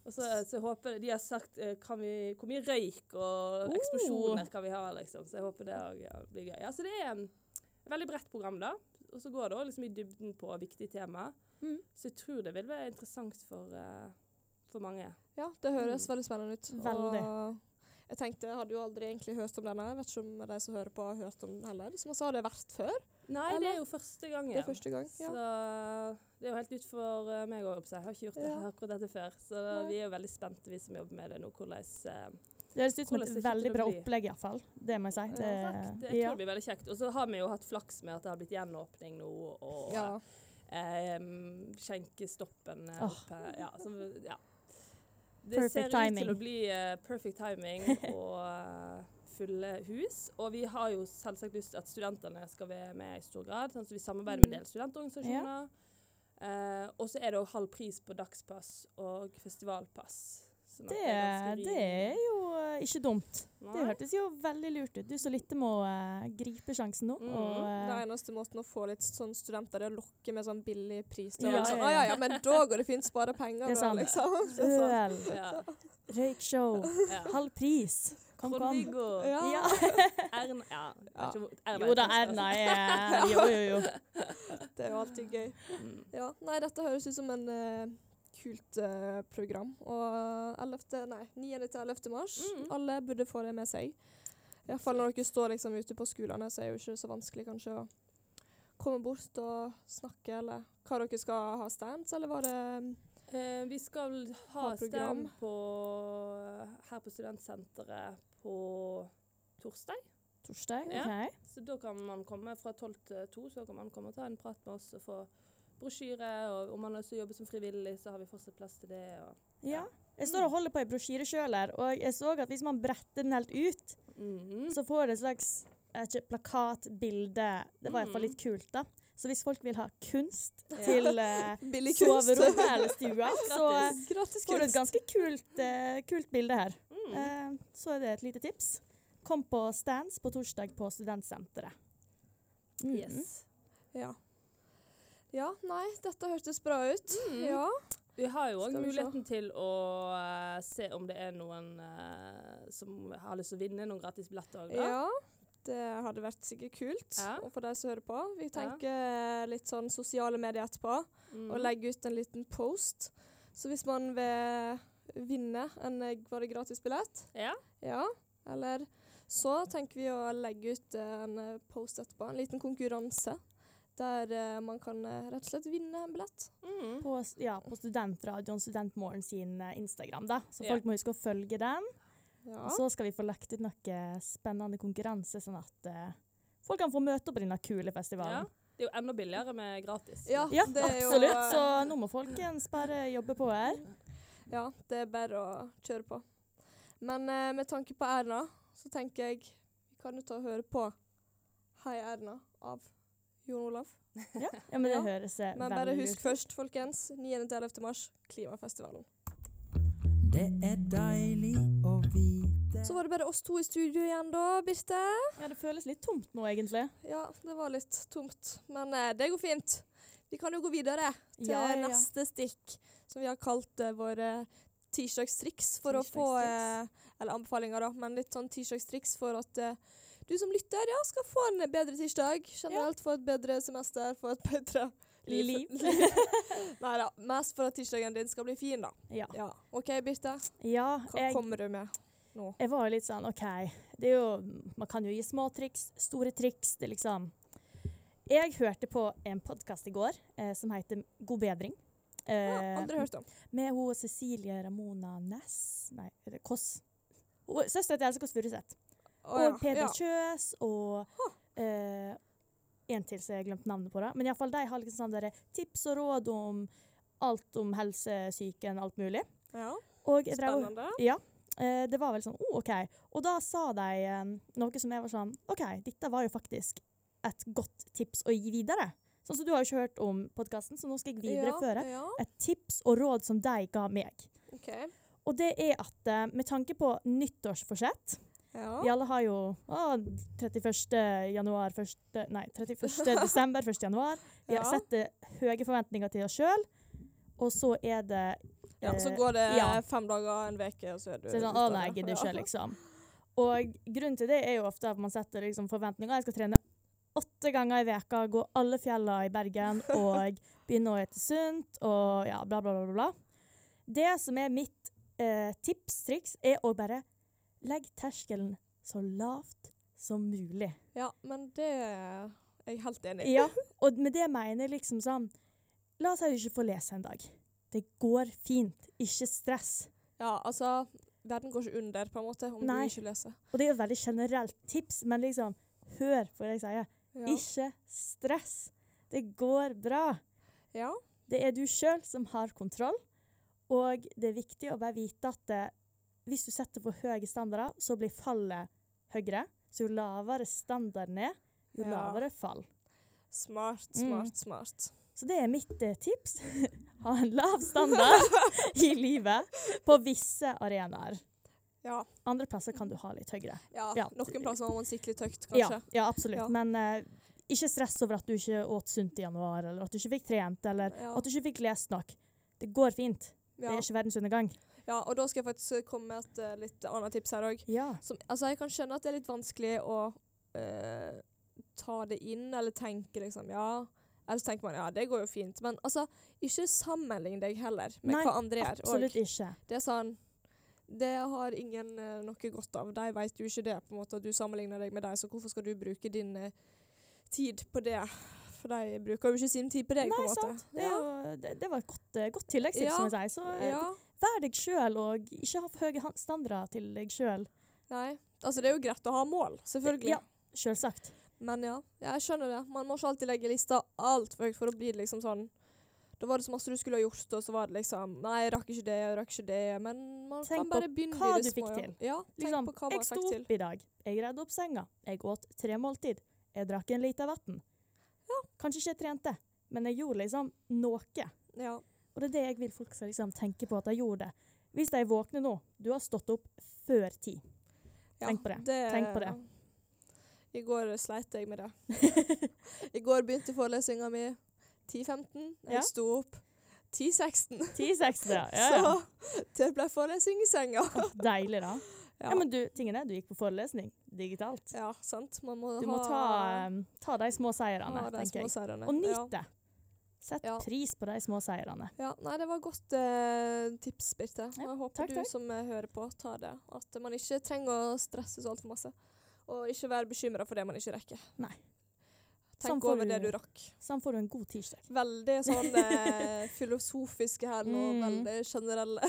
S3: Og så, så håper jeg, De har sagt eh, kan vi, hvor mye røyk og eksplosjoner kan vi ha, liksom. Så jeg håper det også, ja, blir gøy. Ja, så det er en veldig bredt program, da. Og så går det også liksom i dybden på viktige tema.
S6: Mm.
S3: Så jeg tror det vil være interessant for, eh, for mange.
S5: ja, det høres veldig spennende ut.
S6: Veldig.
S5: Og jeg tenkte, jeg hadde jo aldri egentlig hørt om denne. Jeg vet ikke om de som hører på, har hørt om den heller. Som jeg sa, det har vært før.
S3: Nei, det er jo første gangen.
S5: Det er første gang.
S3: Så
S5: Ja.
S3: det er jo helt nytt for eh, meg òg. Jeg har ikke gjort det,
S5: Ja.
S3: akkurat dette før. Så vi er jo veldig spente, vi som jobber med det nå. Hvordan eh,
S6: Det høres
S3: Hvordan
S6: ut som
S3: det
S6: et
S3: kommer
S6: veldig
S3: til å
S6: bra
S3: bli.
S6: opplegg, iallfall. Det må jeg si. Det,
S3: det, jeg
S6: ja.
S3: tror det blir veldig kjekt. Og så har vi jo hatt flaks med at det har blitt gjenåpning nå. og...
S5: ja.
S3: Ehm, skjenkestoppen eh,
S6: Åh.
S3: oppe. Ja, så, ja. Det
S6: Perfect
S3: ser ut
S6: timing.
S3: til å bli eh, perfect timing og eh, fulle hus. Og vi har jo selvsagt lyst til at studentene skal være med i stor grad, sånn at vi samarbeider
S6: Mm.
S3: med en del studentorganisasjoner. Eh, og så er det jo halv pris på dagspass og festivalpass. sånn at
S6: Det,
S3: er ganske
S6: det
S3: rimelig.
S6: er jo eh, ikke dumt. Det
S3: Nei.
S6: hørtes jo veldig lurt ut. Du som lytter må eh, gripe sjansen nå.
S3: Mhm.
S6: Og,
S5: Det
S6: eh,
S5: eneste måten å få litt sånn studenter det er å lokke med sånn billig pris.
S6: Ja,
S5: Ja, ja,
S6: ja,
S5: sånn, ja. ja, men da går det fint. Spare penger,
S6: Det er
S5: da,
S6: sant.
S5: liksom.
S3: sånn.
S6: øl,
S3: Ja,
S6: røykshow,
S3: ja.
S6: halv pris. Kom, kom.
S3: Trond-Viggo,
S5: Ja.
S6: Ja.
S3: Erna ja. jeg vet ikke altså. hvor- Erna
S6: Jo da,
S3: kanskje,
S6: Erna er Jo, jo, jo.
S5: Det er jo alltid gøy.
S3: altså. Mm.
S5: Ja. Nei, dette høres ut som en eh, kult eh, program. Og 11., nei, 9. til 11. mars.
S3: Mhm.
S5: Alle burde få det med seg. I hvert fall når dere står liksom ute på skolene, så er det jo ikke så vanskelig kanskje å komme bort og snakke, eller hva dere skal ha stands, eller var det mm,
S3: Eh, vi skal ha
S5: Ha program.
S3: stem på, eh, her på studentsenteret på torsdag.
S6: Torsdag,
S3: Ja.
S6: OK.
S3: Så da kan man komme fra 12 til 2, så kan man komme og ta en prat med oss og få brosjyre. Og om man også jobber som frivillig, så har vi fortsatt plass til det. Og,
S6: Ja. Jeg står og holder på ei brosjyre sjøl her, og jeg så at hvis man bretter den helt ut,
S3: Mhm.
S6: så får det et slags eh, ikke plakat, bilde Det var iallfall
S3: Mm.
S6: litt kult, da. Så hvis folk vil ha kunst
S3: Ja.
S6: til eh,
S5: Billig kunst.
S6: soverommet eller stua, så eh,
S5: Gratis
S6: får du et
S5: kunst.
S6: ganske kult, eh, kult bilde her.
S3: Mm.
S6: Eh, så er det et lite tips. Kom på stands på torsdag på studentsenteret. Mm.
S3: Yes.
S5: Ja. ja, nei, dette hørtes bra ut.
S3: Mm.
S5: Ja.
S3: Vi har jo òg
S5: Skal vi se.
S3: muligheten til å eh, se om det er noen eh, som har lyst til å vinne noen gratis billetter òg, da.
S5: ja. Det hadde vært sikkert kult
S3: Ja.
S5: og for deg som hører på. Vi tenker litt sånn sosiale medier etterpå
S3: Mm.
S5: og legger ut en liten post. Så hvis man vil vinne en eh, var det gratis billett,
S3: ja.
S5: ja, eller så tenker vi å legge ut eh, en eh, post etterpå, en liten konkurranse. Der eh, man kan eh, rett og slett vinne en billett.
S3: Mm.
S6: På, s- ja, på studentradioen Studentmorgen sin eh, Instagram, da. Så
S3: Ja.
S6: folk må huske å følge den.
S5: Ja.
S6: Og så skal vi få lagt ut noe spennende konkurranse, sånn at eh, folk kan få møte opp på denne kule
S3: ja.
S6: festivalen.
S3: Det er jo enda billigere med gratis.
S5: Ja,
S6: Ja,
S5: det er jo- eh,
S6: absolutt. Så nå må folkens bare jobbe på her.
S5: Ja, det er bare å kjøre på. Men eh, med tanke på Erna, så tenker jeg vi kan jo ta og høre på Hei Erna av Jon Olav.
S6: Ja, ja men det
S5: Ja.
S6: høres eh,
S5: Men bare
S6: veldig
S5: husk først, folkens. 9.-11. mars, Klimafestivalen.
S7: Det er deilig å vite
S5: Så var det bare oss to i studio igjen da, Birte.
S6: ut. Ja, det føles litt tomt nå, egentlig.
S5: Ja, det var litt tomt, men eh, det går fint. Vi kan jo gå videre til
S6: Ja, ja, ja.
S5: neste stikk, som vi har kalt eh, våre tirsdagstriks for å få
S6: Tirsdagstriks.
S5: eh, Eller anbefalinger, da, men litt sånn tirsdagstriks for at eh, du som lytter, ja, skal få en bedre tirsdag. Generelt få et bedre semester, få et bedre
S6: Liv.
S5: Nei da. Mest for at tirsdagen din skal bli fin, da.
S6: Ja.
S5: Ja. OK, Birte.
S6: ja
S5: Hva
S6: jeg
S5: kommer du med?
S6: Jeg var jo litt sånn OK, det er jo, man kan jo gi små triks, store triks. Det er liksom Jeg hørte på en podkast i går eh, som heter God bedring. Eh,
S5: Aldri hørt om.
S6: med hun Cecilie Ramona Næss Nei, er det Kåss? Hun er Søstera til Else Kåss Furuseth.
S5: Å,
S6: Og Peder
S5: ja.
S6: Kjøs og eh, en til som jeg har glemt navnet på. da. Men iallfall de har liksom sånn der tips og råd om alt om helse, psyken, alt mulig.
S5: Ja.
S6: Og jeg drev og
S5: Spennende.
S6: ja. Eh, det var vel sånn oh, OK. Og da sa de eh, noe som jeg var sånn OK, dette var jo faktisk et godt tips å gi videre. Sånn som du har jo ikke hørt om podkasten, så nå skal jeg videreføre
S5: Ja, ja.
S6: et tips og råd som de ga meg.
S5: OK.
S6: Og det er at eh, med tanke på nyttårsforsett
S5: Ja.
S6: Vi alle har jo ah, 31. januar, 1. Nei, 31. desember, 1. januar. Vi
S5: Ja.
S6: setter høye forventninger til oss sjøl, og så er det
S5: Ja, og så
S6: eh,
S5: går det
S6: ja.
S5: fem dager, en uke, og så er du
S6: Så det er sånn,
S5: ute
S6: å
S5: av
S6: nei,
S5: det».
S6: jeg gidder
S5: Ja.
S6: ikke, liksom. Og grunnen til det er jo ofte at man setter liksom, forventninger. Jeg skal trene åtte ganger i veka, gå alle fjellene i Bergen og begynne å ete sunt og ja, bla, bla, bla, bla, bla. Det som er mitt eh, tips, triks, er å bare legge terskelen så lavt som mulig.
S5: Ja, men det er jeg helt enig i.
S6: Ja, og med det mener jeg liksom sånn, la oss heller ikke få lese en dag. Det går fint, ikke stress.
S5: Ja, altså, verden går ikke under, på en måte, om
S6: Nei.
S5: du ikke leser.
S6: Og det er jo et veldig generelt tips, men liksom, hør på det jeg sier.
S5: Ja.
S6: Ikke stress. Det går bra.
S5: ja.
S6: Det er du sjøl som har kontroll, og det er viktig å bare vite at eh, hvis du setter for høye standarder, så blir fallet høyere. Så jo lavere standarden er, jo
S5: Ja.
S6: lavere fall.
S5: Smart,
S6: Mm.
S5: smart, smart.
S6: Så det er mitt eh, tips. ha en lav standard i livet på visse arenaer.
S5: Ja.
S6: Andre plasser kan du ha litt høyere.
S5: ja.
S6: Ja.
S5: Noen plasser må man sikle tøkt,
S6: Ja,
S5: kanskje.
S6: ja, absolutt.
S5: Ja.
S6: Men eh, ikke stress over at du ikke åt sunt i januar, eller at du ikke fikk trent, eller
S5: Ja.
S6: at du ikke fikk lest nok. Det går fint. Det
S5: Ja.
S6: er ikke verdens undergang.
S5: ja, og da skal jeg faktisk komme med et eh, litt annet tips her òg.
S6: Ja.
S5: Som, altså, jeg kan skjønne at det er litt vanskelig å eh, ta det inn, eller tenke liksom ja. Eller så tenker man ja, det går jo fint. Men altså, ikke sammenlign deg heller med
S6: Nei,
S5: hva andre gjør. og-
S6: Absolutt ikke.
S5: Det er sånn Det har ingen eh, noe godt av. De vet jo ikke det, på en måte, at du sammenligner deg med dem, så hvorfor skal du bruke din eh, tid på det? For de bruker jo ikke sin tid på deg, på en
S6: Nei,
S5: måte.
S6: sant. Det, er jo, det, det var et godt, eh, godt tilleggstips,
S5: Ja.
S6: som jeg sier. Så
S5: Ja.
S6: eh,
S5: ja.
S6: vær deg sjøl, og ikke ha for høye han- standarder til deg sjøl.
S5: Nei. Altså, det er jo greit å ha mål, selvfølgelig.
S6: Ja, sjølsagt.
S5: Men ja, jeg skjønner det. Man må ikke alltid legge lista altfor høyt, for da blir det liksom sånn Da var det så masse du skulle ha gjort, og så var det liksom Nei, jeg rakk ikke det, jeg rakk ikke det. Men man
S6: Tenk
S5: kan bare
S6: på
S5: begynne
S6: hva
S5: i det
S6: du fikk
S5: små, ja.
S6: til.
S5: Ja, tenk
S6: Liksom,
S5: på hva
S6: jeg
S5: man
S6: sto
S5: fikk til.
S6: opp i dag. Jeg redde opp senga. Jeg åt tre måltid. Jeg drakk en liter vann. Kanskje ikke jeg trente, men jeg gjorde liksom noe.
S5: Ja.
S6: Og det er det jeg vil folk skal liksom tenke på at de gjorde. Hvis de våkner nå Du har stått opp før ti.
S5: Ja,
S6: Tenk på det. Tenk på det.
S5: I går sleit jeg med det. I går begynte forelesninga mi 10.15. Jeg
S6: Ja.
S5: sto opp 10.16.
S6: Ti, seks, ja. ja,
S5: Så det ble forelesning i senga.
S6: ja. Deilig, da.
S5: Ja.
S6: Ja, men du, tingen er, du gikk på forelesning digitalt.
S5: Ja, sant. Man må,
S6: Du må
S5: ha,
S6: ta, eh, ta de små seirene,
S5: ha de
S6: tenker
S5: små
S6: jeg.
S5: seirene.
S6: Og
S5: Ja.
S6: nyt det. Sett
S5: Ja.
S6: pris på de små seirene.
S5: Ja, nei, det var godt eh, tips, Birte. Og
S6: Ja,
S5: jeg håper
S6: takk,
S5: du
S6: takk.
S5: som eh, hører på, tar det. At man ikke trenger å stresse så altfor masse. Og ikke være bekymra for det man ikke rekker.
S6: Nei. Sånn
S5: Tenk
S6: får
S5: over
S6: du-
S5: det du rakk.
S6: Sånn får du en god tirsdag.
S5: Veldig sånn eh, filosofiske her nå,
S6: Mm.
S5: veldig generelle.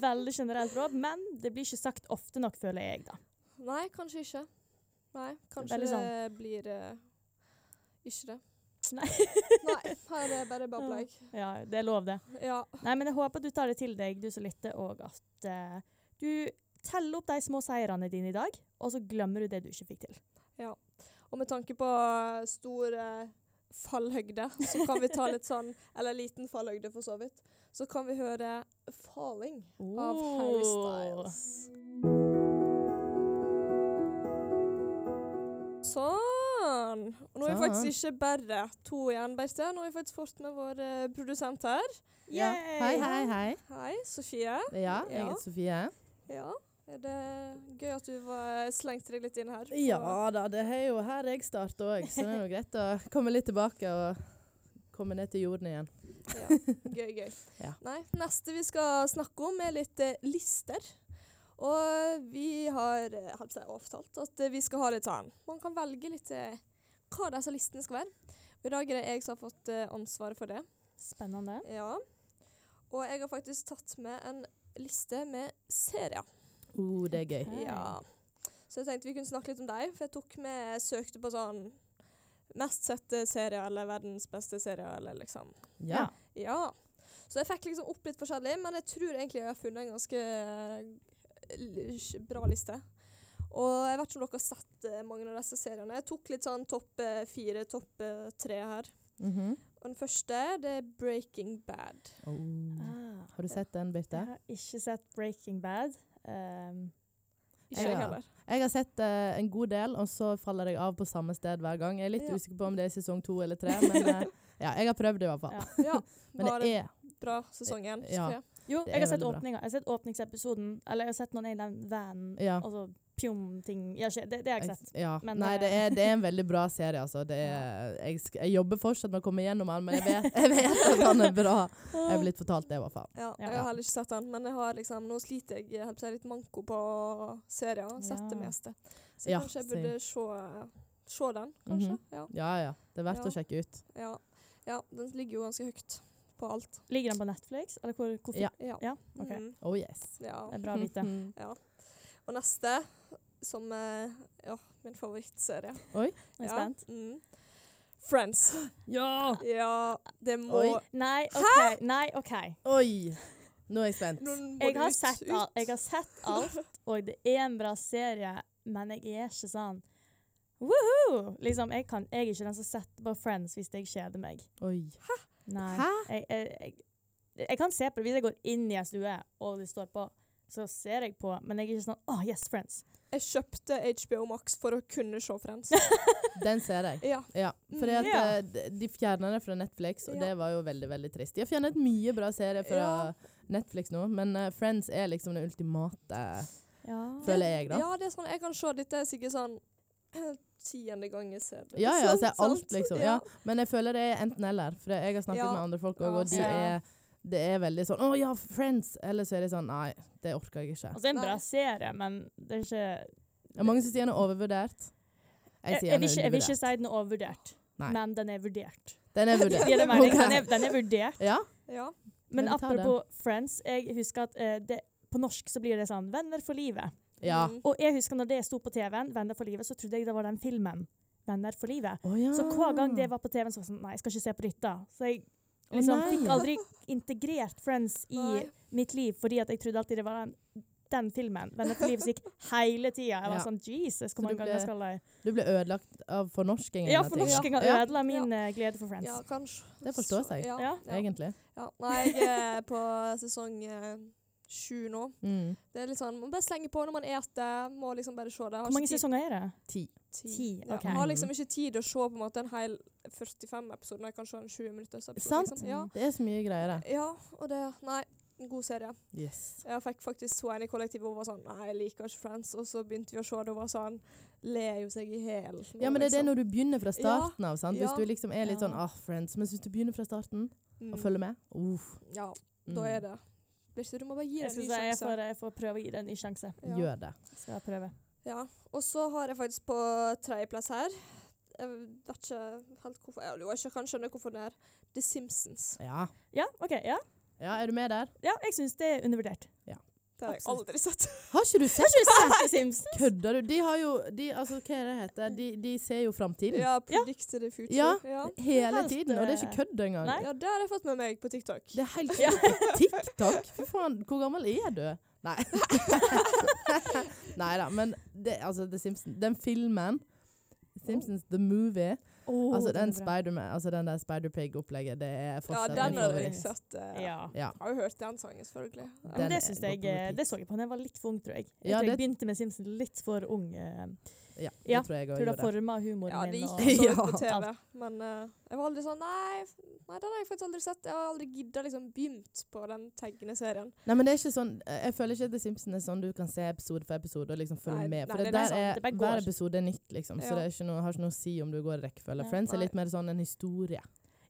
S6: Veldig generelt råd, men det blir ikke sagt ofte nok, føler jeg, da.
S5: Nei, kanskje ikke. Nei, kanskje
S6: Veldig
S5: det
S6: sånn.
S5: blir eh, ikke det.
S6: Nei.
S5: Nei, her er det bare babla jeg.
S6: Ja, det er lov, det.
S5: Ja.
S6: Nei, men jeg håper du tar det til deg, du som lytter, og at eh, du teller opp de små seirene dine i dag, og så glemmer du det du ikke fikk til.
S5: Og med tanke på stor eh, fallhøgde, så kan vi ta litt sånn Eller liten fallhøgde, for så vidt. Så kan vi høre 'Falling' av Harry Styles. Sånn. Og nå er vi faktisk ikke bare to igjen, Beite. Nå har vi faktisk fått med vår eh, produsent her.
S8: Ja.
S6: Yay!
S8: Hei, hei, hei.
S5: Hei, Sofie.
S8: Ja, jeg
S5: Ja.
S8: heter Sofie.
S5: Ja, er det gøy at du var, slengte deg litt inn her?
S8: Ja da, det er jo her jeg starter òg, så det er jo greit å komme litt tilbake og komme ned til jorden igjen.
S5: Ja, gøy, gøy.
S8: Ja.
S5: Nei, neste vi skal snakke om er litt eh, lister. Og vi har eh, holdt på å si avtalt at eh, vi skal ha litt sånn Man kan velge litt eh, hva disse listene skal være. Og I dag er det jeg som har fått eh, ansvaret for det.
S6: Spennende.
S5: Ja. Og jeg har faktisk tatt med en liste med serier.
S8: Oh, det er gøy.
S6: Hei.
S5: Ja. Så jeg tenkte vi kunne snakke litt om deg, for jeg tok med jeg søkte på sånn mest sette serier eller verdens beste serier eller liksom
S8: Ja.
S5: ja. Så jeg fikk liksom opp litt forskjellig, men jeg tror egentlig jeg har funnet en ganske eh, l- bra liste. Og jeg vet ikke om dere har sett eh, mange av disse seriene. Jeg tok litt sånn topp eh, fire, topp eh, tre her.
S8: Mhm.
S5: Og den første, det er Breaking Bad.
S8: oh.
S6: Ah,
S8: Har du sett den, Birte?
S6: jeg har ikke sett Breaking Bad. Um,
S5: Ikke jeg
S8: Ja.
S5: heller.
S8: Jeg har sett eh, en god del, og så faller jeg av på samme sted hver gang. Jeg er litt
S5: Ja.
S8: usikker på om det er sesong to eller tre, men eh, ja, jeg har prøvd det i hvert fall.
S6: Ja.
S5: Ja,
S8: Men
S5: var
S8: det er
S5: bra sesong én.
S8: Ja.
S5: Sofie.
S6: jo,
S8: Det er
S6: jeg har sett
S8: veldig bra.
S6: åpninga. Jeg har sett åpningsepisoden, eller jeg har sett noen i den vanen,
S8: Ja.
S6: og så pjom-ting. Ja, skje- det, det har jeg ikke sett.
S8: Ja.
S6: Men,
S8: Nei,
S6: eh,
S8: det er, det er en veldig bra serie, altså. Det er, jeg, sk- jeg jobber fortsatt med å komme gjennom den, men jeg vet, jeg vet at den er bra. Jeg er blitt fortalt det, i hvert fall.
S5: Ja,
S6: Ja.
S5: jeg har heller ikke sett den, men jeg har liksom, nå sliter jeg, jeg holdt på å si, litt manko på serier. Jeg har Sett det
S6: Ja.
S5: meste. Så
S8: Ja,
S5: kanskje jeg burde se, se den, kanskje.
S8: Mhm. Ja, ja. Det er verdt
S5: Ja.
S8: å sjekke ut.
S5: ja. Ja. ja, den ligger jo ganske høyt på alt.
S6: Ligger den på Netflix, eller hvor? hvor
S8: Ja.
S5: Ja.
S6: ja? OK.
S5: Mhm.
S8: Oh yes.
S5: ja.
S6: Det er bra å vite.
S8: Mhm.
S5: Og neste, som eh, ja, min favorittserie.
S6: Jeg er
S5: Ja,
S6: spent.
S5: Mm. Friends.
S3: Ja!
S5: Ja, det må
S8: Oi.
S6: Nei, OK. Nei, ok.
S8: Oi! Nå er jeg spent.
S5: Noen må
S6: Jeg har,
S5: ut-
S6: sett
S5: ut.
S6: alt, jeg har sett alt, og det er en bra serie, men jeg er ikke sånn Woohoo! Liksom, jeg, kan, jeg er ikke den som setter på Friends hvis jeg kjeder meg.
S8: Oi.
S6: Nei.
S8: Hæ?
S6: Jeg, jeg, jeg, jeg kan se på det hvis jeg går inn i en stue og det står på, så ser jeg på, men jeg er ikke sånn Åh, yes, Friends.
S5: Jeg kjøpte HBO Max for å kunne se Friends.
S8: Den ser jeg.
S5: ja. Mm.
S8: Ja, for at,
S6: Ja.
S8: eh, de- de fjerna det fra Netflix, og
S5: Ja.
S8: det var jo veldig veldig trist. De har fjernet mye bra serier fra
S5: Ja.
S8: Netflix nå, men eh, Friends er liksom den ultimate,
S6: Ja.
S8: føler jeg, da.
S5: Ja, det er sånn, jeg kan se dette er sikkert sånn tiende gang jeg ser det.
S8: Ja, ja,
S5: Sånn,
S8: så er alt,
S5: sant?
S8: liksom. Ja. Men jeg føler det er enten-eller, for jeg har snakket
S5: Ja.
S8: med andre folk òg,
S5: Ja,
S8: og de
S6: ja.
S8: er, det er veldig sånn 'Å ja, Friends!' Eller så er de sånn 'Nei, det orker jeg ikke'.
S6: Altså, det er en
S5: Nei.
S6: bra serie, men det er ikke
S8: Det er mange som sier den er overvurdert. Jeg
S6: Jeg, jeg,
S8: sier den
S6: vil,
S8: er
S6: ikke, jeg vil ikke
S8: undervurdert.
S6: si den er overvurdert,
S8: Nei.
S6: men den er vurdert.
S8: Den er
S6: Det
S8: vurdert.
S6: gir det mening. Den
S8: Ok.
S6: er, den er vurdert.
S8: Ja.
S5: Ja.
S6: Men
S8: Men vi tar
S6: apropos Friends, jeg husker at eh, det, på norsk så blir det sånn 'Venner for livet'.
S8: ja.
S5: Mm.
S6: Og jeg husker når det sto på TV-en, 'Venner for livet', så trodde jeg det var den filmen. Venner for livet.
S8: Å ja.
S6: Så hver gang det var på TV-en, så var jeg sånn Nei, jeg skal ikke se på dette. Så jeg
S3: Å,
S6: Liksom,
S3: nei.
S6: fikk aldri integrert Friends i
S5: Nei.
S6: mitt liv fordi at jeg trodde alltid det var den, den filmen. Venner til livet gikk hele tida. Jeg var
S3: Ja.
S6: sånn Jesus,
S3: Så
S6: hvor
S3: du
S6: mange
S3: ble-
S6: ganger skal jeg
S3: Du ble ødelagt av fornorskingen.
S6: Ja,
S3: av ting.
S6: fornorskinga
S3: Ja,
S6: ødela min eh, glede for Friends.
S5: Ja, kanskje.
S3: Det forstår seg,
S5: Ja.
S6: Ja.
S5: ja.
S3: egentlig.
S5: ja. Nei, jeg er på sesong eh, sju nå.
S3: Mm.
S5: Det er litt sånn, Man bare slenger på når man eter. Må liksom bare se det. Har
S6: Hvor mange
S5: ikke tid-
S6: sesonger er det?
S3: Ti.
S6: Ti. OK.
S5: Ja, har liksom ikke tid til å se på en måte en hel 45 episode når jeg kan se en 20 minutters episode.
S3: Sant?
S5: Liksom. Ja.
S3: Det er så mye greier der.
S5: ja, og det Nei, en god serie.
S3: Yes.
S5: Jeg fikk faktisk så en i kollektivet og hun var sånn Nei, jeg liker ikke Friends. Og så begynte vi å se det, og hun var sånn Ler jo seg i hjel.
S3: Ja, men det er det når du begynner fra starten av. sant? Hvis
S5: Ja. Mm.
S3: du liksom er litt
S6: Ja.
S3: sånn ah, friends, men hvis du begynner fra starten og følger med uff,
S5: Ja,
S3: mm,
S5: da er det Birte, du må bare gi
S6: Jeg,
S5: det en
S6: skal
S5: ny
S6: si, jeg,
S5: sjanse.
S6: får, jeg får prøve å gi det en ny sjanse.
S5: Ja.
S3: Gjør det.
S6: Skal jeg prøve.
S5: ja. Og så har jeg faktisk på tredjeplass her Jeg vet ikke helt hvorfor ja, Jo, jeg kan skjønne hvorfor det er The Simpsons.
S3: Ja.
S6: Ja, OK. Ja,
S3: ja, er du med der?
S6: ja jeg syns det er undervurdert.
S5: Det har jeg
S6: Absolutt.
S5: aldri sett.
S3: Har ikke du sett det?
S6: Simpsons. Simpsons.
S3: Kødder du? De har jo de, altså, Hva er det heter? De, de ser jo framtiden.
S5: Ja, Predict the future.
S3: Ja.
S5: Ja.
S3: Hele
S6: Helt,
S3: tiden. Og det er
S6: eh,
S3: ikke kødd engang.
S6: nei.
S5: Ja, det har jeg fått med meg på TikTok.
S3: Det er helt sjukt. TikTok? Fy faen, hvor gammel er du? Nei. Nei da, men det, altså, The Simpsons Den filmen, Simpsons The Movie
S6: Åh,
S3: Altså den
S6: den er bra.
S3: Spider-Man, altså den der Spider-Pig-opplegget, det er
S5: Ja,
S3: fortsatt
S5: den
S3: min
S5: har jeg
S3: favoritt.
S5: sett.
S6: Ja.
S5: eh,
S3: Ja.
S5: Jeg har jo hørt den sangen, selvfølgelig.
S6: Ja, Men
S3: Den
S6: det
S3: er-
S6: syns
S3: går
S6: jeg,
S3: på
S6: eh,
S3: repeat.
S6: det så jeg på da jeg var litt for ung, tror jeg. Jeg
S3: Ja,
S6: tror jeg
S3: det-
S6: begynte med Simpsons litt for ung. eh,
S3: Ja, det
S6: Ja,
S3: tror jeg òg
S6: tror det
S3: gjorde.
S6: forma humoren
S5: Ja,
S6: min.
S5: det gikk
S6: Og,
S5: jo så
S3: Ja.
S5: vidt på TV, men eh, jeg var aldri sånn Nei, f- nei, den har jeg faktisk aldri sett. Jeg har aldri gidda liksom begynt på den tegnende serien.
S3: Nei, men det er ikke sånn Jeg føler ikke at The Simpsons er sånn du kan se episode for episode og liksom følge
S5: Nei,
S3: med. For
S5: nei,
S3: det
S5: det er
S3: der
S5: sant.
S3: er,
S6: Det bare går.
S3: hver episode er nytt, liksom.
S5: Ja.
S3: Så det er ikke noe, har ikke noe å si om du går i rekkefølge.
S6: Ja,
S3: Friends er
S5: nei.
S3: litt mer sånn en historie.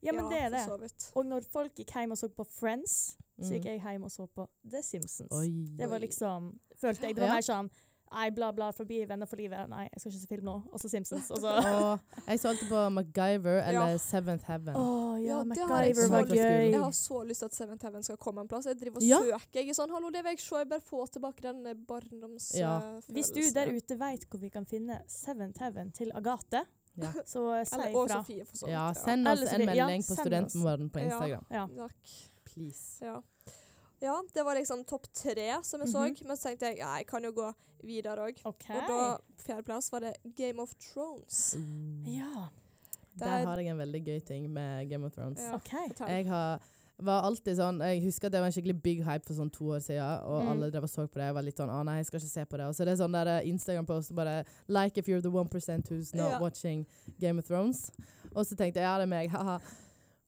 S6: ja, men det er det.
S5: For så vidt.
S6: Og når folk gikk hjem og så på Friends, så gikk
S3: Mm.
S6: jeg hjem og så på The Simpsons.
S3: Oi.
S6: Det var liksom Følte jeg. Det var
S3: Ja.
S6: mer sånn Nei, bla, bla, forbi Venner for livet. Nei, jeg skal ikke se film nå. Og så Simpsons. Og så
S3: Og jeg så alltid på MacGyver eller
S5: Ja.
S3: Seventh Heaven.
S6: Å ja,
S5: Ja, det har jeg
S6: MacGyver
S3: så
S6: var
S3: lyst til.
S6: gøy.
S5: Jeg har så lyst til at Seventh Heaven skal komme en plass. Jeg driver og
S3: Ja.
S5: søker. Jeg er sånn Hallo, det vil jeg se. Jeg bare få tilbake den eh, barndoms...
S3: Ja.
S5: eh,
S6: Hvis du
S5: følelsen.
S6: der ute veit hvor vi kan finne Seventh Heaven til Agathe,
S3: Ja.
S6: så eh, si
S5: Eller, og
S6: ifra.
S5: Sofie, for så vidt.
S3: Ja, send oss
S6: Eller så
S3: en
S6: blir- ja,
S3: melding på
S6: send oss.
S3: Studentmorgen på Instagram.
S6: Ja.
S5: Takk.
S3: Please.
S5: Ja. ja, det var liksom topp tre som jeg så, men så tenkte jeg ja, jeg kan jo gå videre òg.
S6: Mhm. OK.
S5: Og da, på fjerdeplass, var det Game of Thrones.
S6: Ja,
S5: Der-
S3: Mm, Der har jeg en veldig gøy ting med Game of Thrones.
S5: Ja.
S6: OK.
S5: Fortell.
S3: Jeg har, var alltid sånn Jeg husker at det var en skikkelig big hype for sånn to år siden, og
S6: Mm.
S3: alle drev og så på det. Jeg var litt sånn 'Å nei, jeg skal ikke se på det'. Og så det er sånn der eh, Instagram-post bare 'Like if you're the 1% who's not
S5: Ja.
S3: watching Game of Thrones'. Og så tenkte jeg 'Ja, det er meg', haha.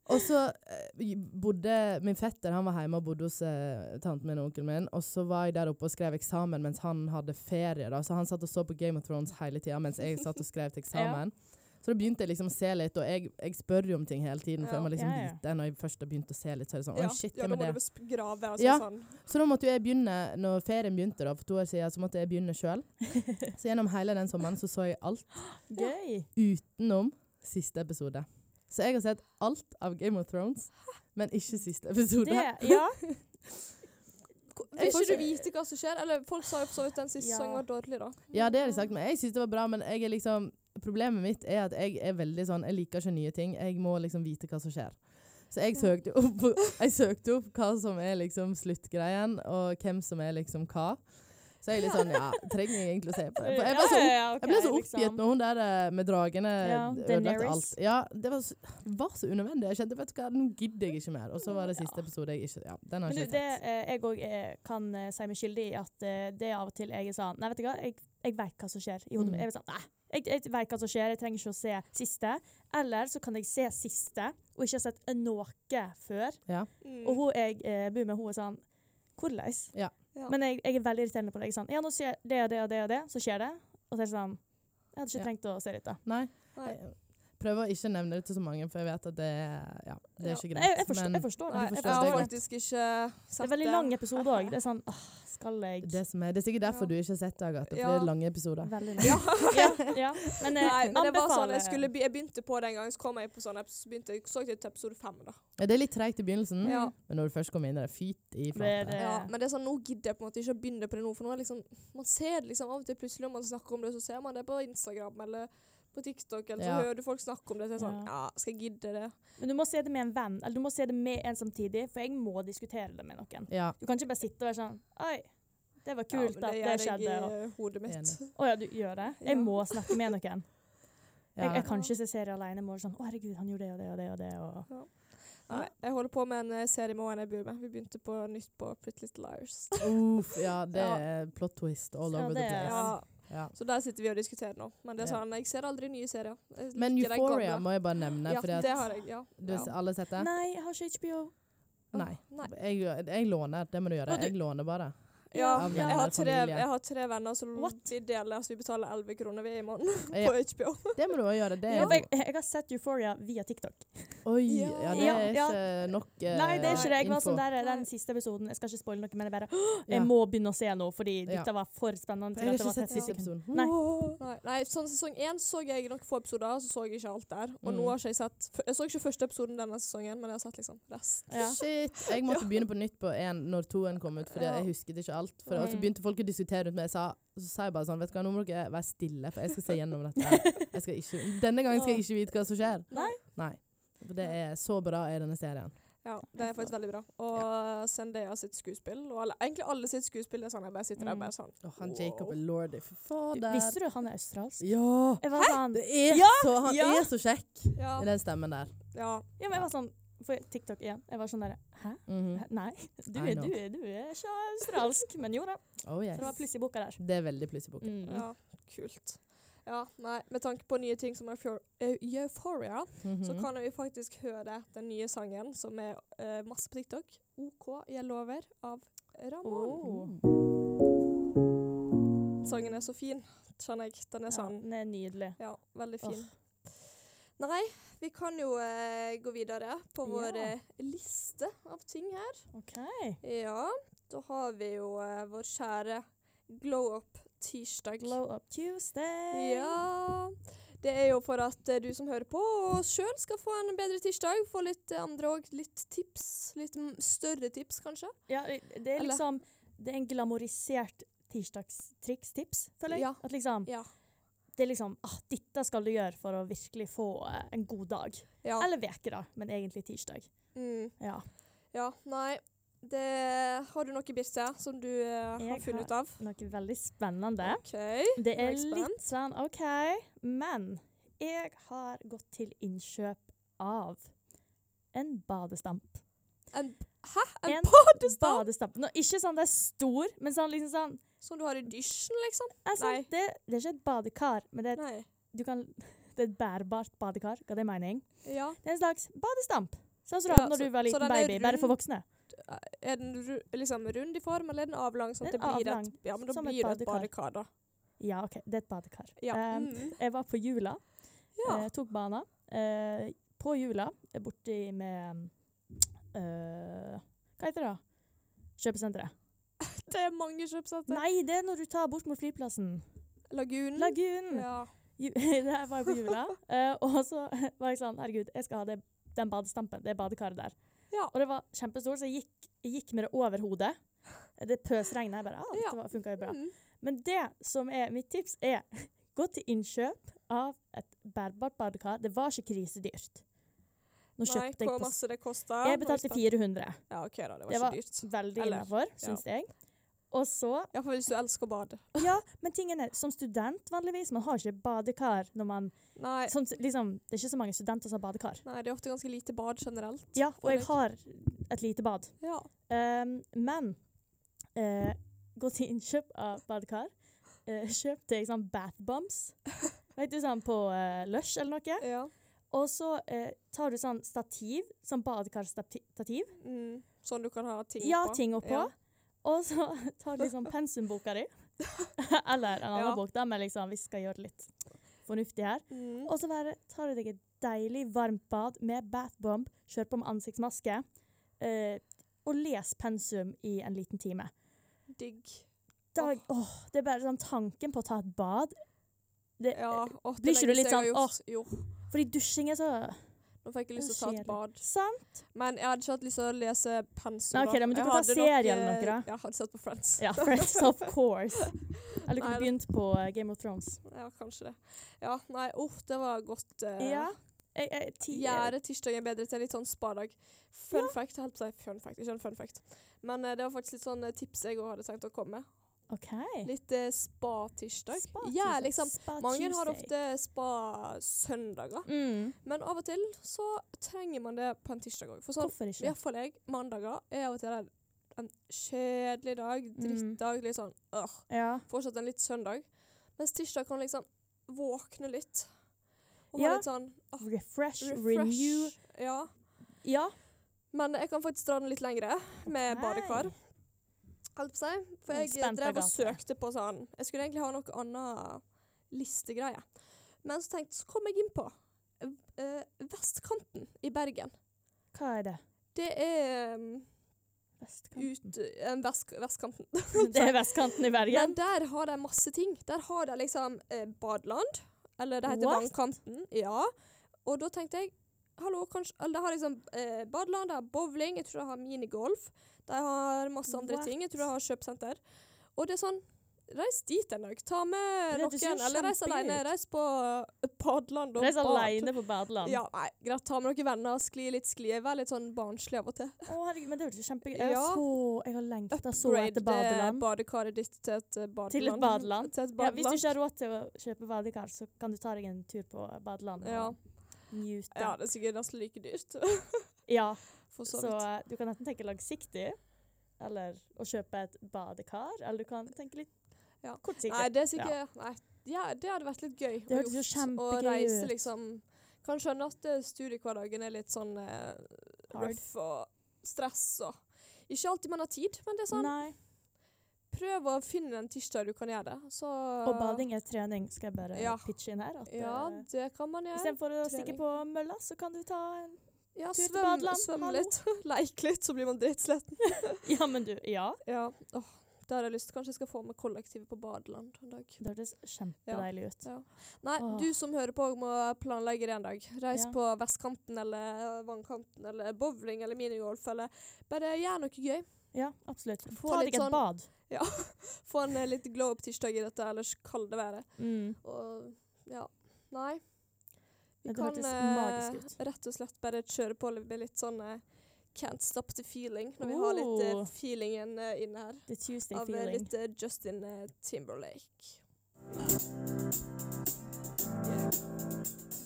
S3: Og så eh, bodde min fetter han var hjemme og bodde hos eh, tanten min og onkelen min. Og så var jeg der oppe og skrev eksamen mens han hadde ferie. da. Så han satt og så på Game of Thrones hele tida mens jeg satt og skrev til eksamen. Så da begynte jeg liksom å se litt, og jeg, jeg spør jo om ting hele tiden. For
S5: Ja.
S3: jeg må liksom
S6: Ja, ja.
S3: vite når jeg først har begynt å se litt, så er det sånn,
S5: ja.
S3: «Oi, shit,
S5: ja,
S3: jeg
S5: da
S3: må
S5: må du
S3: det.
S5: bes- grave. Altså,
S3: Ja.
S5: sånn.
S3: Så da måtte jo jeg begynne, når ferien begynte da, for to år siden, så måtte jeg begynne sjøl. Så gjennom hele den sommeren så så jeg alt
S6: Gøy.
S3: utenom siste episode. Så jeg har sett alt av Game of Thrones, men ikke siste episode.
S6: Det, ja.
S5: Vil ikke du vite hva som skjer? Eller folk sa jo for så vidt den siste
S6: Ja.
S5: sangen var dårlig, da.
S3: Ja, det sånn, har de sagt, men jeg syns det var bra. Men jeg er liksom, problemet mitt er at jeg er veldig sånn Jeg liker ikke nye ting. Jeg må liksom vite hva som skjer. Så jeg søkte opp, jeg søkte opp hva som er liksom sluttgreien, og hvem som er liksom hva. Så jeg er litt sånn Ja, trenger jeg egentlig å se på det? For jeg, var så opp, jeg ble så oppgitt når hun der eh, med dragene
S6: liksom.
S3: eh,
S6: Ja,
S3: ødelagte
S6: Daenerys.
S3: alt. Ja, det var, så, det var så unødvendig. Jeg kjente vet du hva, nå gidder jeg ikke mer. Og så var det siste episode jeg ikke Ja, den har
S6: Men du,
S3: jeg
S6: det
S3: ikke sett.
S6: eh, jeg òg kan eh, si meg skyldig i, at eh, det er av og til jeg er sånn Nei, vet du hva, jeg, jeg veit hva som skjer i hodet
S3: Mm.
S6: mitt. Jeg er sånn, nei, jeg, jeg vet hva som skjer, jeg trenger ikke å se siste. Eller så kan jeg se siste og ikke ha sett noe før.
S5: Mm.
S6: Og hun jeg eh, bor med, hun er sånn Hvordan?
S3: Ja.
S5: Ja.
S6: Men jeg, jeg er veldig irriterende på det. Jeg er sånn Ja, nå skjer det og det og det og det, så skjer det. Og så er det sånn Jeg hadde ikke
S3: Ja.
S6: trengt å se dette.
S3: Nei.
S5: Nei.
S3: Prøver å ikke nevne det til så mange, for jeg vet at det, ja, det er
S5: Ja,
S3: ikke
S6: Jeg,
S3: greit.
S6: jeg, forstår,
S3: men-
S6: jeg forstår det.
S5: Nei,
S3: forstår
S5: jeg
S3: det
S5: har
S3: godt.
S5: faktisk ikke sett
S6: Det er veldig lang episode òg. Det er sånn åh, Skal jeg
S3: Det, som er, det er sikkert derfor
S5: Ja.
S3: du ikke har sett det, Agathe. For
S5: Ja.
S3: det er lange episoder.
S6: Veldig lang. Ja. ja. Men, eh,
S5: Nei, men det var sånn,
S6: anbefaler-
S5: jeg, skulle be jeg begynte på det en gang, så kom jeg på sånn episode, så begynte jeg så jeg til episode fem. da.
S3: Ja, det er litt treigt i begynnelsen,
S5: Ja.
S3: men når du først kommer inn i det, fyt i
S6: Det er
S8: Eh.
S3: flate.
S6: det.
S5: Ja, men det er sånn, nå gidder jeg på en måte ikke å begynne på det nå, for nå er det liksom, man ser det liksom av og til plutselig når man snakker om det, så ser man det på Instagram eller på TikTok, eller så
S8: Ja.
S5: hører du folk snakke om det, så er jeg sånn Ja, skal jeg gidde det?
S6: Men du må se det med en venn, eller du må se det med en samtidig, for jeg må diskutere det med noen.
S8: Ja.
S6: Du kan ikke bare sitte og være sånn Oi, det var kult
S5: ja, men
S6: at det
S5: gjør
S6: skjedde.
S5: jeg
S6: og-
S5: i eh, hodet mitt.
S6: Å ja, du gjør det?
S5: Ja.
S6: Jeg må snakke med noen. Jeg,
S8: Ja.
S6: jeg kan ikke se serier alene. Jeg må være sånn Å, herregud, han gjorde det og det og det og det. Og...
S5: Nei, jeg holder på med en eh, serie med en jeg bor med. Vi begynte på nytt på Pretty Little Liars.
S8: Uff, ja, det
S5: Ja.
S8: er plot twist all
S6: Ja,
S8: over the
S6: det er-
S8: place.
S5: Ja,
S8: Ja.
S5: så der sitter vi og diskuterer nå. Men det er
S8: Ja.
S5: sånn, jeg ser aldri nye serier. Jeg
S8: Men
S5: liker de
S8: Euphoria
S5: gamle.
S8: må jeg bare nevne,
S5: ja,
S8: fordi at
S5: det har jeg. Ja.
S8: du har
S5: ja.
S8: alle sett det?
S6: Nei, jeg har ikke HBO.
S8: Nei.
S5: Nei.
S8: Jeg, jeg låner, det må du gjøre.
S6: Og du-
S8: Jeg låner bare.
S5: Ja,
S8: Av venner,
S5: jeg har tre,
S8: familie.
S5: jeg har tre venner som
S6: What?
S5: vi deler, så vi betaler 11 kroner vi i måneden
S8: Ja.
S5: på HBO.
S8: Det må du òg gjøre. Det
S6: Ja,
S8: er,
S6: for jeg, jeg har sett Euphoria via TikTok.
S8: Oi,
S5: Ja.
S8: ja, det
S6: Ja,
S8: er
S6: ja.
S8: ikke nok eh,
S6: Nei, det er ikke det. Jeg var
S8: info.
S6: sånn der den
S5: Nei.
S6: siste episoden. Jeg skal ikke spoile noe, men jeg bare «Åh,
S8: Ja.
S6: Jeg må begynne å se nå, fordi
S8: Ja.
S6: dette var for spennende.
S8: Jeg
S6: til
S8: har
S6: at det
S8: ikke
S6: var
S8: sett
S6: 30
S8: siste
S6: sekunder.
S8: episoden.
S6: Nei.
S5: Nei, nei, sånn sesong én så jeg nok få episoder, så så jeg ikke alt der. Og
S8: Mm.
S5: nå har ikke jeg sett f- Jeg så ikke første episoden denne sesongen, men jeg har sett liksom resten.
S6: Ja.
S8: Shit, jeg måtte begynne på nytt på en når toen kom ut, fordi
S5: Ja.
S8: jeg husket ikke alt. For, Og så
S6: Mm.
S8: begynte folk å diskutere rundt meg, jeg sa, så sa jeg bare sånn Vet du hva, nå må dere være stille, for jeg skal se gjennom dette. her. Jeg skal ikke, denne gangen skal jeg ikke vite hva som skjer.
S6: Nei.
S8: Nei. For Det er så bra i denne serien.
S5: Ja, det er faktisk veldig bra. Og Zendaya sitt skuespill, og alle, egentlig alle sitt skuespill, det er sånn jeg bare sitter der og bare sånn
S8: Mm. Åh, han Jacob er lordy. Fy
S6: Visste
S8: fader.
S6: du at han er australsk?
S8: Ja!
S6: Jeg var sånn
S8: Det er
S6: Ja,
S8: så, han
S6: ja.
S8: er så kjekk
S5: Ja.
S8: i den stemmen der.
S5: ja.
S6: Ja, men jeg var sånn For TikTok igjen. Jeg var sånn derre Hæ?
S8: Mhm.
S6: Nei, du
S8: I
S6: er,
S8: know.
S6: du, er, du er ikke australsk. Men jo da.
S8: Oh
S6: Så det var
S8: yes.
S6: pluss i boka der.
S8: Det er veldig pluss i boken.
S6: Mm.
S5: ja. Kult. Ja, nei, med tanke på nye ting som Euphor- Eu- Euphoria, så
S8: Mhm.
S5: kan vi faktisk høre den nye sangen som er eh, masse på TikTok. OK, jeg lover, av Ramón.
S6: Oh.
S5: Sangen er så fin, kjenner jeg. Den er
S6: Ja,
S5: sånn
S6: den er nydelig.
S5: Ja, veldig fin. Nei, vi kan jo eh, gå videre på
S6: Ja.
S5: vår eh, liste av ting her.
S6: OK.
S5: Ja, da har vi jo eh, vår kjære Glow Up Tirsdag.
S6: Glow up Tuesday.
S5: Ja. Det er jo for at eh, du som hører på og sjøl skal få en bedre tirsdag. Få litt eh, andre òg. Litt tips. Litt m- større tips, kanskje.
S6: Ja, det- det er
S5: Eller-
S6: liksom Det er en glamorisert tirsdagstrikstips, føler jeg.
S5: Ja.
S6: At liksom
S5: Ja.
S6: Det er liksom ah, Dette skal du gjøre for å virkelig få eh, en god dag.
S5: Ja.
S6: Eller veke da, men egentlig tirsdag.
S5: Mm.
S6: Ja.
S5: ja. Nei. Det har du noe, Birte, som du eh,
S6: Jeg
S5: har funnet ut av?
S6: Noe veldig spennende.
S5: OK.
S6: Det
S5: er
S6: er
S5: jeg spent.
S6: litt sånn OK, men jeg har gått til innkjøp av en badestamp.
S5: En, hæ? En,
S6: En
S5: badestamp?
S6: Badestamp. Nå, ikke sånn det er stor, men sånn liksom sånn
S5: Som du har i dusjen, liksom?
S6: altså,
S5: Nei.
S6: det, det er ikke et badekar, men det er,
S5: Nei.
S6: et- du kan, det er et bærbart badekar. Ga det mening?
S5: Ja.
S6: Det er en slags badestamp. Sånn som du
S5: Ja,
S6: hadde når
S5: så-
S6: du var
S5: så
S6: liten
S5: den er
S6: baby, bare for
S5: rund,
S6: voksne.
S5: Er den ru liksom rund i form, eller er den avlang? Sånn at det
S6: Den er
S5: blir
S6: avlang,
S5: et, ja, men da
S6: som et
S5: blir det et
S6: badekar.
S5: badekar, da.
S6: Ja, OK, det er et badekar.
S5: Ja.
S6: Eh,
S5: Mm.
S6: Jeg var på Jula.
S5: Ja.
S6: Eh, tok bana. Eh, på Jula, eh, borti med eh, Hva heter det? da? Kjøpesenteret.
S5: Det er mange kjøpesenter.
S6: Nei, det er når du tar bort mot flyplassen.
S5: Lagunen.
S6: Lagunen!
S5: Mm. Ja.
S6: Ju- Det her var jeg på Jula. Eh, og så var jeg sånn Herregud, jeg skal ha det, den badestampen. Det badekaret der.
S5: Ja.
S6: Og det var kjempestort, så jeg gikk, jeg gikk med det over hodet. Det pøsregna. Jeg bare ah,
S5: Ja.
S6: dette var- funka jo bra.
S5: Mm.
S6: Men det som er mitt tips, er gå til innkjøp av et bærbart badekar. Det var ikke krisedyrt. Nå
S5: Nei,
S6: kjøpte jeg
S5: hvor
S6: på s-
S5: masse det kosta?
S6: Jeg betalte 400.
S5: Ja, OK, da. Det var
S6: Det
S5: ikke
S6: var-
S5: dyrt.
S6: Veldig
S5: Eller,
S6: innafor, syns jeg. Og så
S5: Ja, for hvis du elsker å bade.
S6: Ja, men tingen er, som student vanligvis, man har ikke badekar når man
S5: Nei.
S6: som, liksom, Det er ikke så mange studenter som har badekar.
S5: Nei, det er ofte ganske lite bad generelt.
S6: Ja, og jeg
S5: Fornøyd.
S6: har et lite bad.
S5: Ja.
S6: Um, men eh, gå til innkjøp av badekar. Eh, kjøp deg sånn bath bombs. Vet du, sånn på eh, Lush eller noe.
S5: ja.
S6: Og så eh, tar du sånn stativ, sånn badekarstativ.
S5: Mm. Sånn du kan ha ting
S6: Ja,
S5: på.
S6: ting oppå.
S5: Ja.
S6: Og så tar du liksom pensumboka di. Eller en annen
S5: Ja.
S6: bok, da, men liksom, vi skal gjøre det litt fornuftig her.
S5: Mm.
S6: Og så bare tar du deg et deilig varmt bad med bath bomb, kjør på med ansiktsmaske, eh, og les pensum i en liten time.
S5: Digg.
S6: Dag, åh, det er bare sånn tanken på å ta et bad. Det,
S5: Ja.
S6: Eh,
S5: Åh, det
S6: Blir ikke du
S5: lengste
S6: litt
S5: jeg har
S6: sånn,
S5: gjort. Jo.
S6: Fordi dusjing er så
S5: Nå fikk jeg lyst til å ta et
S6: Kjedelig.
S5: bad.
S6: Sant?
S5: Men jeg hadde ikke hatt lyst til å lese pensum.
S6: Nei, ok,
S5: da.
S6: da, men du
S5: Jeg
S6: kan ta
S5: hadde
S6: serie
S5: nok,
S6: eller noe, da.
S5: eh, Ja, hadde sett på Friends.
S6: Ja, Friends, of course. Eller du
S5: Nei,
S6: kunne
S5: da.
S6: begynt på eh, Game of Thrones.
S5: Ja, kanskje det. Ja, nei, oh, det var godt. eh,
S6: Ja. Jeg, jeg, ti,
S5: Gjøre tirsdagen bedre til en litt sånn spadag. Fun fact, jeg holdt på å si fun fact, ikke en fun fact. Men eh, det var faktisk litt sånn eh, tips jeg også hadde tenkt å komme med.
S6: OK.
S5: Litt eh, spa-tirsdag.
S6: Spa
S5: Ja,
S6: Tuesday.
S5: liksom.
S6: Spa
S5: Mange har
S6: Tuesday.
S5: ofte spa-søndager,
S6: mm.
S5: men av og til så trenger man det på en tirsdag òg. For sånn,
S6: Hvorfor ikke?
S5: i hvert fall jeg, mandager er av og til en, en kjedelig dag,
S6: Mm.
S5: drittdag, litt sånn øh,
S6: Ja.
S5: fortsatt en litt søndag. Mens tirsdag kan liksom våkne litt. Og ha
S6: Ja.
S5: litt sånn åh,
S6: Refresh, renew.
S5: refresh. Ja.
S6: Ja.
S5: Men jeg kan faktisk dra den litt lengre, med
S6: Ok.
S5: badekar. Holdt på å si. For
S6: Jeg er
S5: jeg
S6: spent,
S5: drev og
S6: Agathe.
S5: søkte på sånn Jeg skulle egentlig ha noe annet listegreie. Men så tenkte så kom jeg inn på eh, Vestkanten i Bergen.
S6: Hva er det?
S5: Det er um,
S6: Vestkanten.
S5: ut eh, en vest, Vestkanten.
S6: Det er vestkanten i Bergen.
S5: Men der har de masse ting. Der har de liksom eh, badeland. Eller det heter
S6: What?
S5: Vannkanten. Ja. Og da tenkte jeg Hallo, kanskje Eller de har liksom eh, badeland, de har bowling, jeg tror de har minigolf. De har masse andre
S6: What?
S5: ting. Jeg tror de har kjøpesenter. Og det er sånn Reis dit en dag. Ta med
S6: Det ser
S5: noen. Eller reis
S6: kjempegøy
S5: alene.
S6: ut.
S5: Reis på eh, badeland og
S6: Reis
S5: bad.
S6: alene på badeland.
S5: Ja, nei, greit. Ta med noen venner, skli litt sklie. Vær litt sånn barnslig av og til.
S6: Å, herregud, men det hørtes kjempegøy ut. Jeg,
S5: Ja.
S6: har så- jeg har lengta så
S5: Upgrade
S6: etter
S5: eh,
S6: badeland.
S5: badekaret ditt til et eh, badeland.
S6: Til et badeland.
S5: Til et
S6: Ja, hvis du
S5: badeland.
S6: ikke har råd til å kjøpe badekar, så kan du ta deg en tur på badeland og
S5: Ja.
S6: njute.
S5: Ja, det er sikkert nesten like dyrt.
S6: Ja,
S5: For så
S6: så,
S5: vidt.
S6: eh, du kan enten tenke langsiktig, eller å kjøpe et badekar, eller du kan tenke litt
S5: Ja.
S6: kortsiktig.
S5: nei, det er sikkert Nei, ja, det hadde vært litt gøy. å
S6: hørtes jo
S5: gjort, å
S6: kjempegøy
S5: reise,
S6: ut.
S5: liksom. Kan skjønne at eh, studiehverdagen er litt sånn eh,
S6: Hard.
S5: røff og stress og Ikke alltid man har tid, men det er sånn
S6: Nei.
S5: Prøv å finne en tirsdag du kan gjøre det. Så
S6: Og bading er trening, skal jeg bare
S5: Ja.
S6: pitche inn her. At,
S5: Ja,
S6: eh,
S5: det kan man gjøre.
S6: Istedenfor å
S5: trening.
S6: stikke på mølla, så kan du ta en
S5: Ja,
S6: tur til
S5: svøm,
S6: badeland,
S5: svøm
S6: hallo.
S5: litt. Leik litt, så blir man drittsliten.
S6: Ja, men du, ja.
S5: Ja. Åh, det har jeg lyst til. Kanskje jeg skal få med kollektivet på badeland en dag.
S6: Det hørtes kjempedeilig ut.
S5: Nei,
S6: Åh.
S5: du som hører på må planlegge det en dag. Reis
S6: Ja.
S5: på vestkanten eller vannkanten eller bowling eller minigolf eller Bare gjør noe gøy.
S6: Ja, absolutt.
S5: Få
S6: Ta
S5: litt
S6: deg et
S5: sånn-
S6: bad.
S5: Få en eh, litt glow up tirsdag i dette ellers kalde været.
S6: Mm.
S5: Og ja. Nei. Vi
S6: Men det
S5: kan
S6: hørtes
S5: eh,
S6: magisk ut.
S5: rett og slett bare kjøre på med litt sånn eh, Can't stop the feeling, når vi har litt eh,
S6: Oh.
S5: feelingen eh, inne her.
S6: The Tuesday
S5: Av eh,
S6: feeling.
S5: litt eh, Justin eh, Timberlake.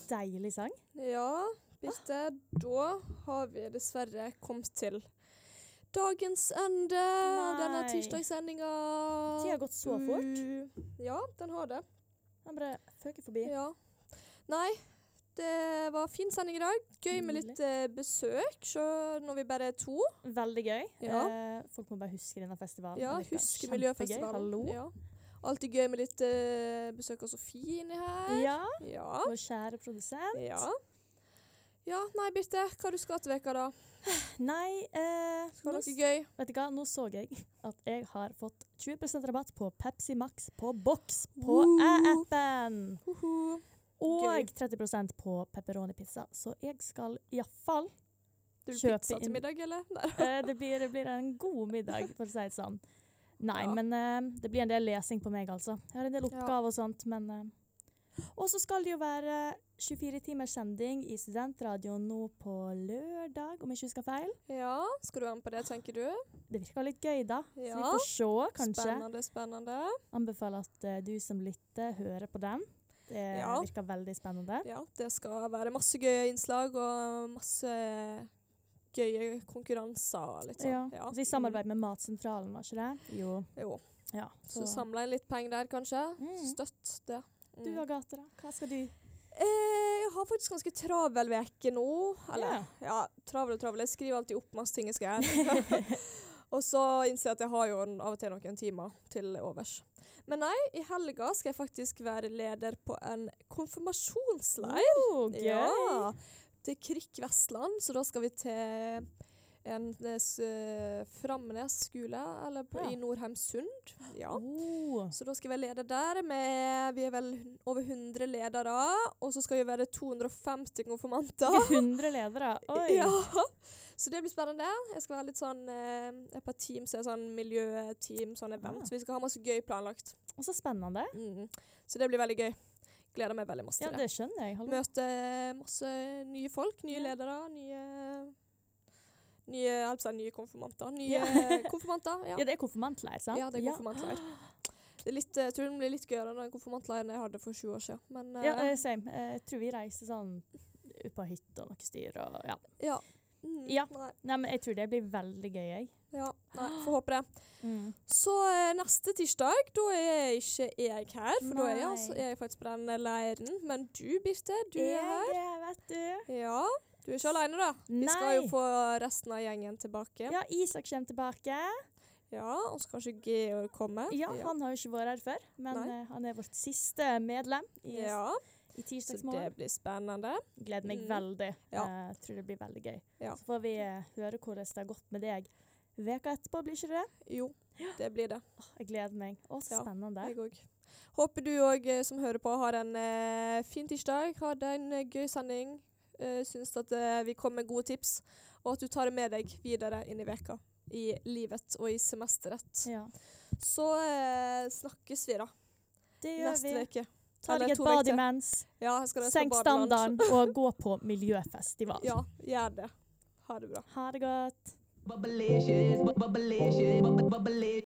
S6: Deilig sang.
S5: Ja, Birte. Da har vi dessverre kommet til dagens ende.
S6: Nei.
S5: Denne tirsdagssendinga.
S6: Tida har gått så
S5: Mm.
S6: fort.
S5: Ja, den har det.
S6: Den bare føker forbi.
S5: Ja. Nei, det var fin sending i dag. Gøy med litt eh, besøk, så når vi bare er to.
S6: Veldig gøy.
S5: Ja.
S6: Eh, folk må bare huske denne festivalen.
S5: Ja,
S6: Det virker
S5: Husk
S6: kjempegøy.
S5: miljøfestivalen.
S6: Hallo.
S5: Ja. Alltid gøy med litt eh, besøk av Sofie inni her.
S6: Ja,
S5: Ja.
S6: vår kjære produsent.
S5: ja. Ja, nei, Birte. Hva du skal til veka da?
S6: Nei, eh,
S5: Skal
S6: nå,
S5: dere gøy?
S6: vet du hva? nå så jeg at jeg har fått 20 rabatt på Pepsi Max på boks på
S5: Woo.
S6: appen.
S5: Hoho. Gøy.
S6: Og 30 på pepperoni-pizza. Så jeg skal iallfall
S5: Det blir
S6: Kjøpe
S5: pizza til
S6: inn-
S5: middag, eller? Nei.
S6: eh, det, blir, det blir en god middag, for å si det sånn. Nei,
S5: Ja.
S6: men eh, det blir en del lesing på meg, altså. Jeg har en del
S5: Ja.
S6: oppgaver og sånt, men eh. Og så skal det jo være 24 timers sending i studentradioen nå på lørdag, om jeg ikke husker feil.
S5: Ja, skal du være med på det, tenker du?
S6: Det virker litt gøy, da. Så vi
S5: Ja.
S6: får se, kanskje.
S5: Spennende, spennende.
S6: Anbefaler at eh, du som lytter, hører på den. Det
S5: Ja.
S6: virker veldig spennende.
S5: Ja, det skal være masse gøye innslag og masse gøye konkurranser og litt sånn.
S6: Ja. Altså, I samarbeid med Matsentralen, var ikke det? Jo.
S5: Mm. Jo.
S6: Ja,
S5: Så
S6: så,
S5: samle inn litt penger der, kanskje.
S6: Mm.
S5: Støtt det. Mm.
S6: Du Agathe, da? Hva skal du?
S5: Eh, jeg har faktisk ganske travel uke nå. Eller, ja, travel og travel. Jeg skriver alltid opp masse ting jeg skal gjøre. og så innser jeg at jeg har jo en- av og til noen timer til overs. Men nei, i helga skal jeg faktisk være leder på en konfirmasjonsleir.
S6: Oh, gøy!
S5: Ja, til Krikk Vestland, så da skal vi til en eh, s- eh, Framnes skole, eller på,
S6: Ja.
S5: i Nordheimsund. Ja.
S6: Oh.
S5: Så da skal jeg være leder der. Med, vi er vel over 100 ledere, og så skal vi være 250 konfirmanter.
S6: 100 ledere. Oi.
S5: Ja. Så det blir spennende. Jeg skal være litt sånn eh, et par team som er sånn miljøteam, sånn event.
S6: Ah.
S5: Så vi skal ha masse gøy planlagt.
S6: Og så spennende.
S5: Mm. Så det blir veldig gøy. Gleder meg veldig masse
S6: Ja,
S5: til det.
S6: det skjønner jeg. Hallo.
S5: Møte eh, masse nye folk, nye
S6: Ja.
S5: ledere, nye Nye, jeg holdt på å si nye konfirmanter. Nye
S6: Ja.
S5: konfirmanter, ja.
S6: Ja, det er konfirmantleir, sant?
S5: Ja, det er konfirmantleir. Det er litt, eh, jeg tror den blir litt gøyere enn den konfirmantleiren jeg hadde for 20 år siden. Men
S6: Ja,
S5: eh,
S6: eh, same. Eh, Jeg tror vi reiser sånn ut på hytta og noe styr og ja.
S5: ja. Mm,
S6: ja.
S5: Nei,
S6: Nei, men jeg tror det blir veldig gøy, jeg. Mm.
S5: ja. Nei, får håpe det. Så eh, neste tirsdag, da er ikke jeg her, for da er jeg,
S6: Nei.
S5: altså, er jeg faktisk på den leiren. Men du, Birte, du er her.
S6: Jeg er, vet du.
S5: Ja, du er ikke alene, da. Vi skal jo
S6: Nei.
S5: få resten av gjengen tilbake.
S6: Ja, Isak kommer tilbake.
S5: Ja, og så kanskje Georg kommer.
S6: Ja, han har jo ikke vært her før, men
S5: Nei.
S6: eh, han er vårt siste medlem i,
S5: Ja,
S6: i
S5: så det
S6: Tirsdagsmorgen.
S5: blir spennende.
S6: Gleder meg
S5: Mm.
S6: veldig.
S5: Ja.
S6: Eh, tror det blir veldig gøy.
S5: Ja.
S6: Så får vi eh, høre hvordan det har gått med deg veka etterpå, blir ikke det?
S5: Jo, det blir det.
S6: Åh, jeg gleder meg. Å, så
S5: Ja,
S6: spennende.
S5: Jeg òg. Håper du òg eh, som hører på, har en eh, fin tirsdag. Hadde en eh, gøy sending. Eh, syns at eh, vi kom med gode tips, og at du tar det med deg videre inn i veka. I livet og i semesteret.
S6: Ja.
S5: Så eh, snakkes vi, da.
S6: Det gjør
S5: Neste
S6: vi.
S5: uke.
S6: Ta
S5: eller
S6: deg et
S5: to uker
S6: bad
S5: til.
S6: imens.
S5: Ja, jeg skal reise på
S6: Senk
S5: badeland.
S6: standarden og gå på miljøfestival.
S5: Ja, gjør det. Ha det bra.
S6: Ha det godt.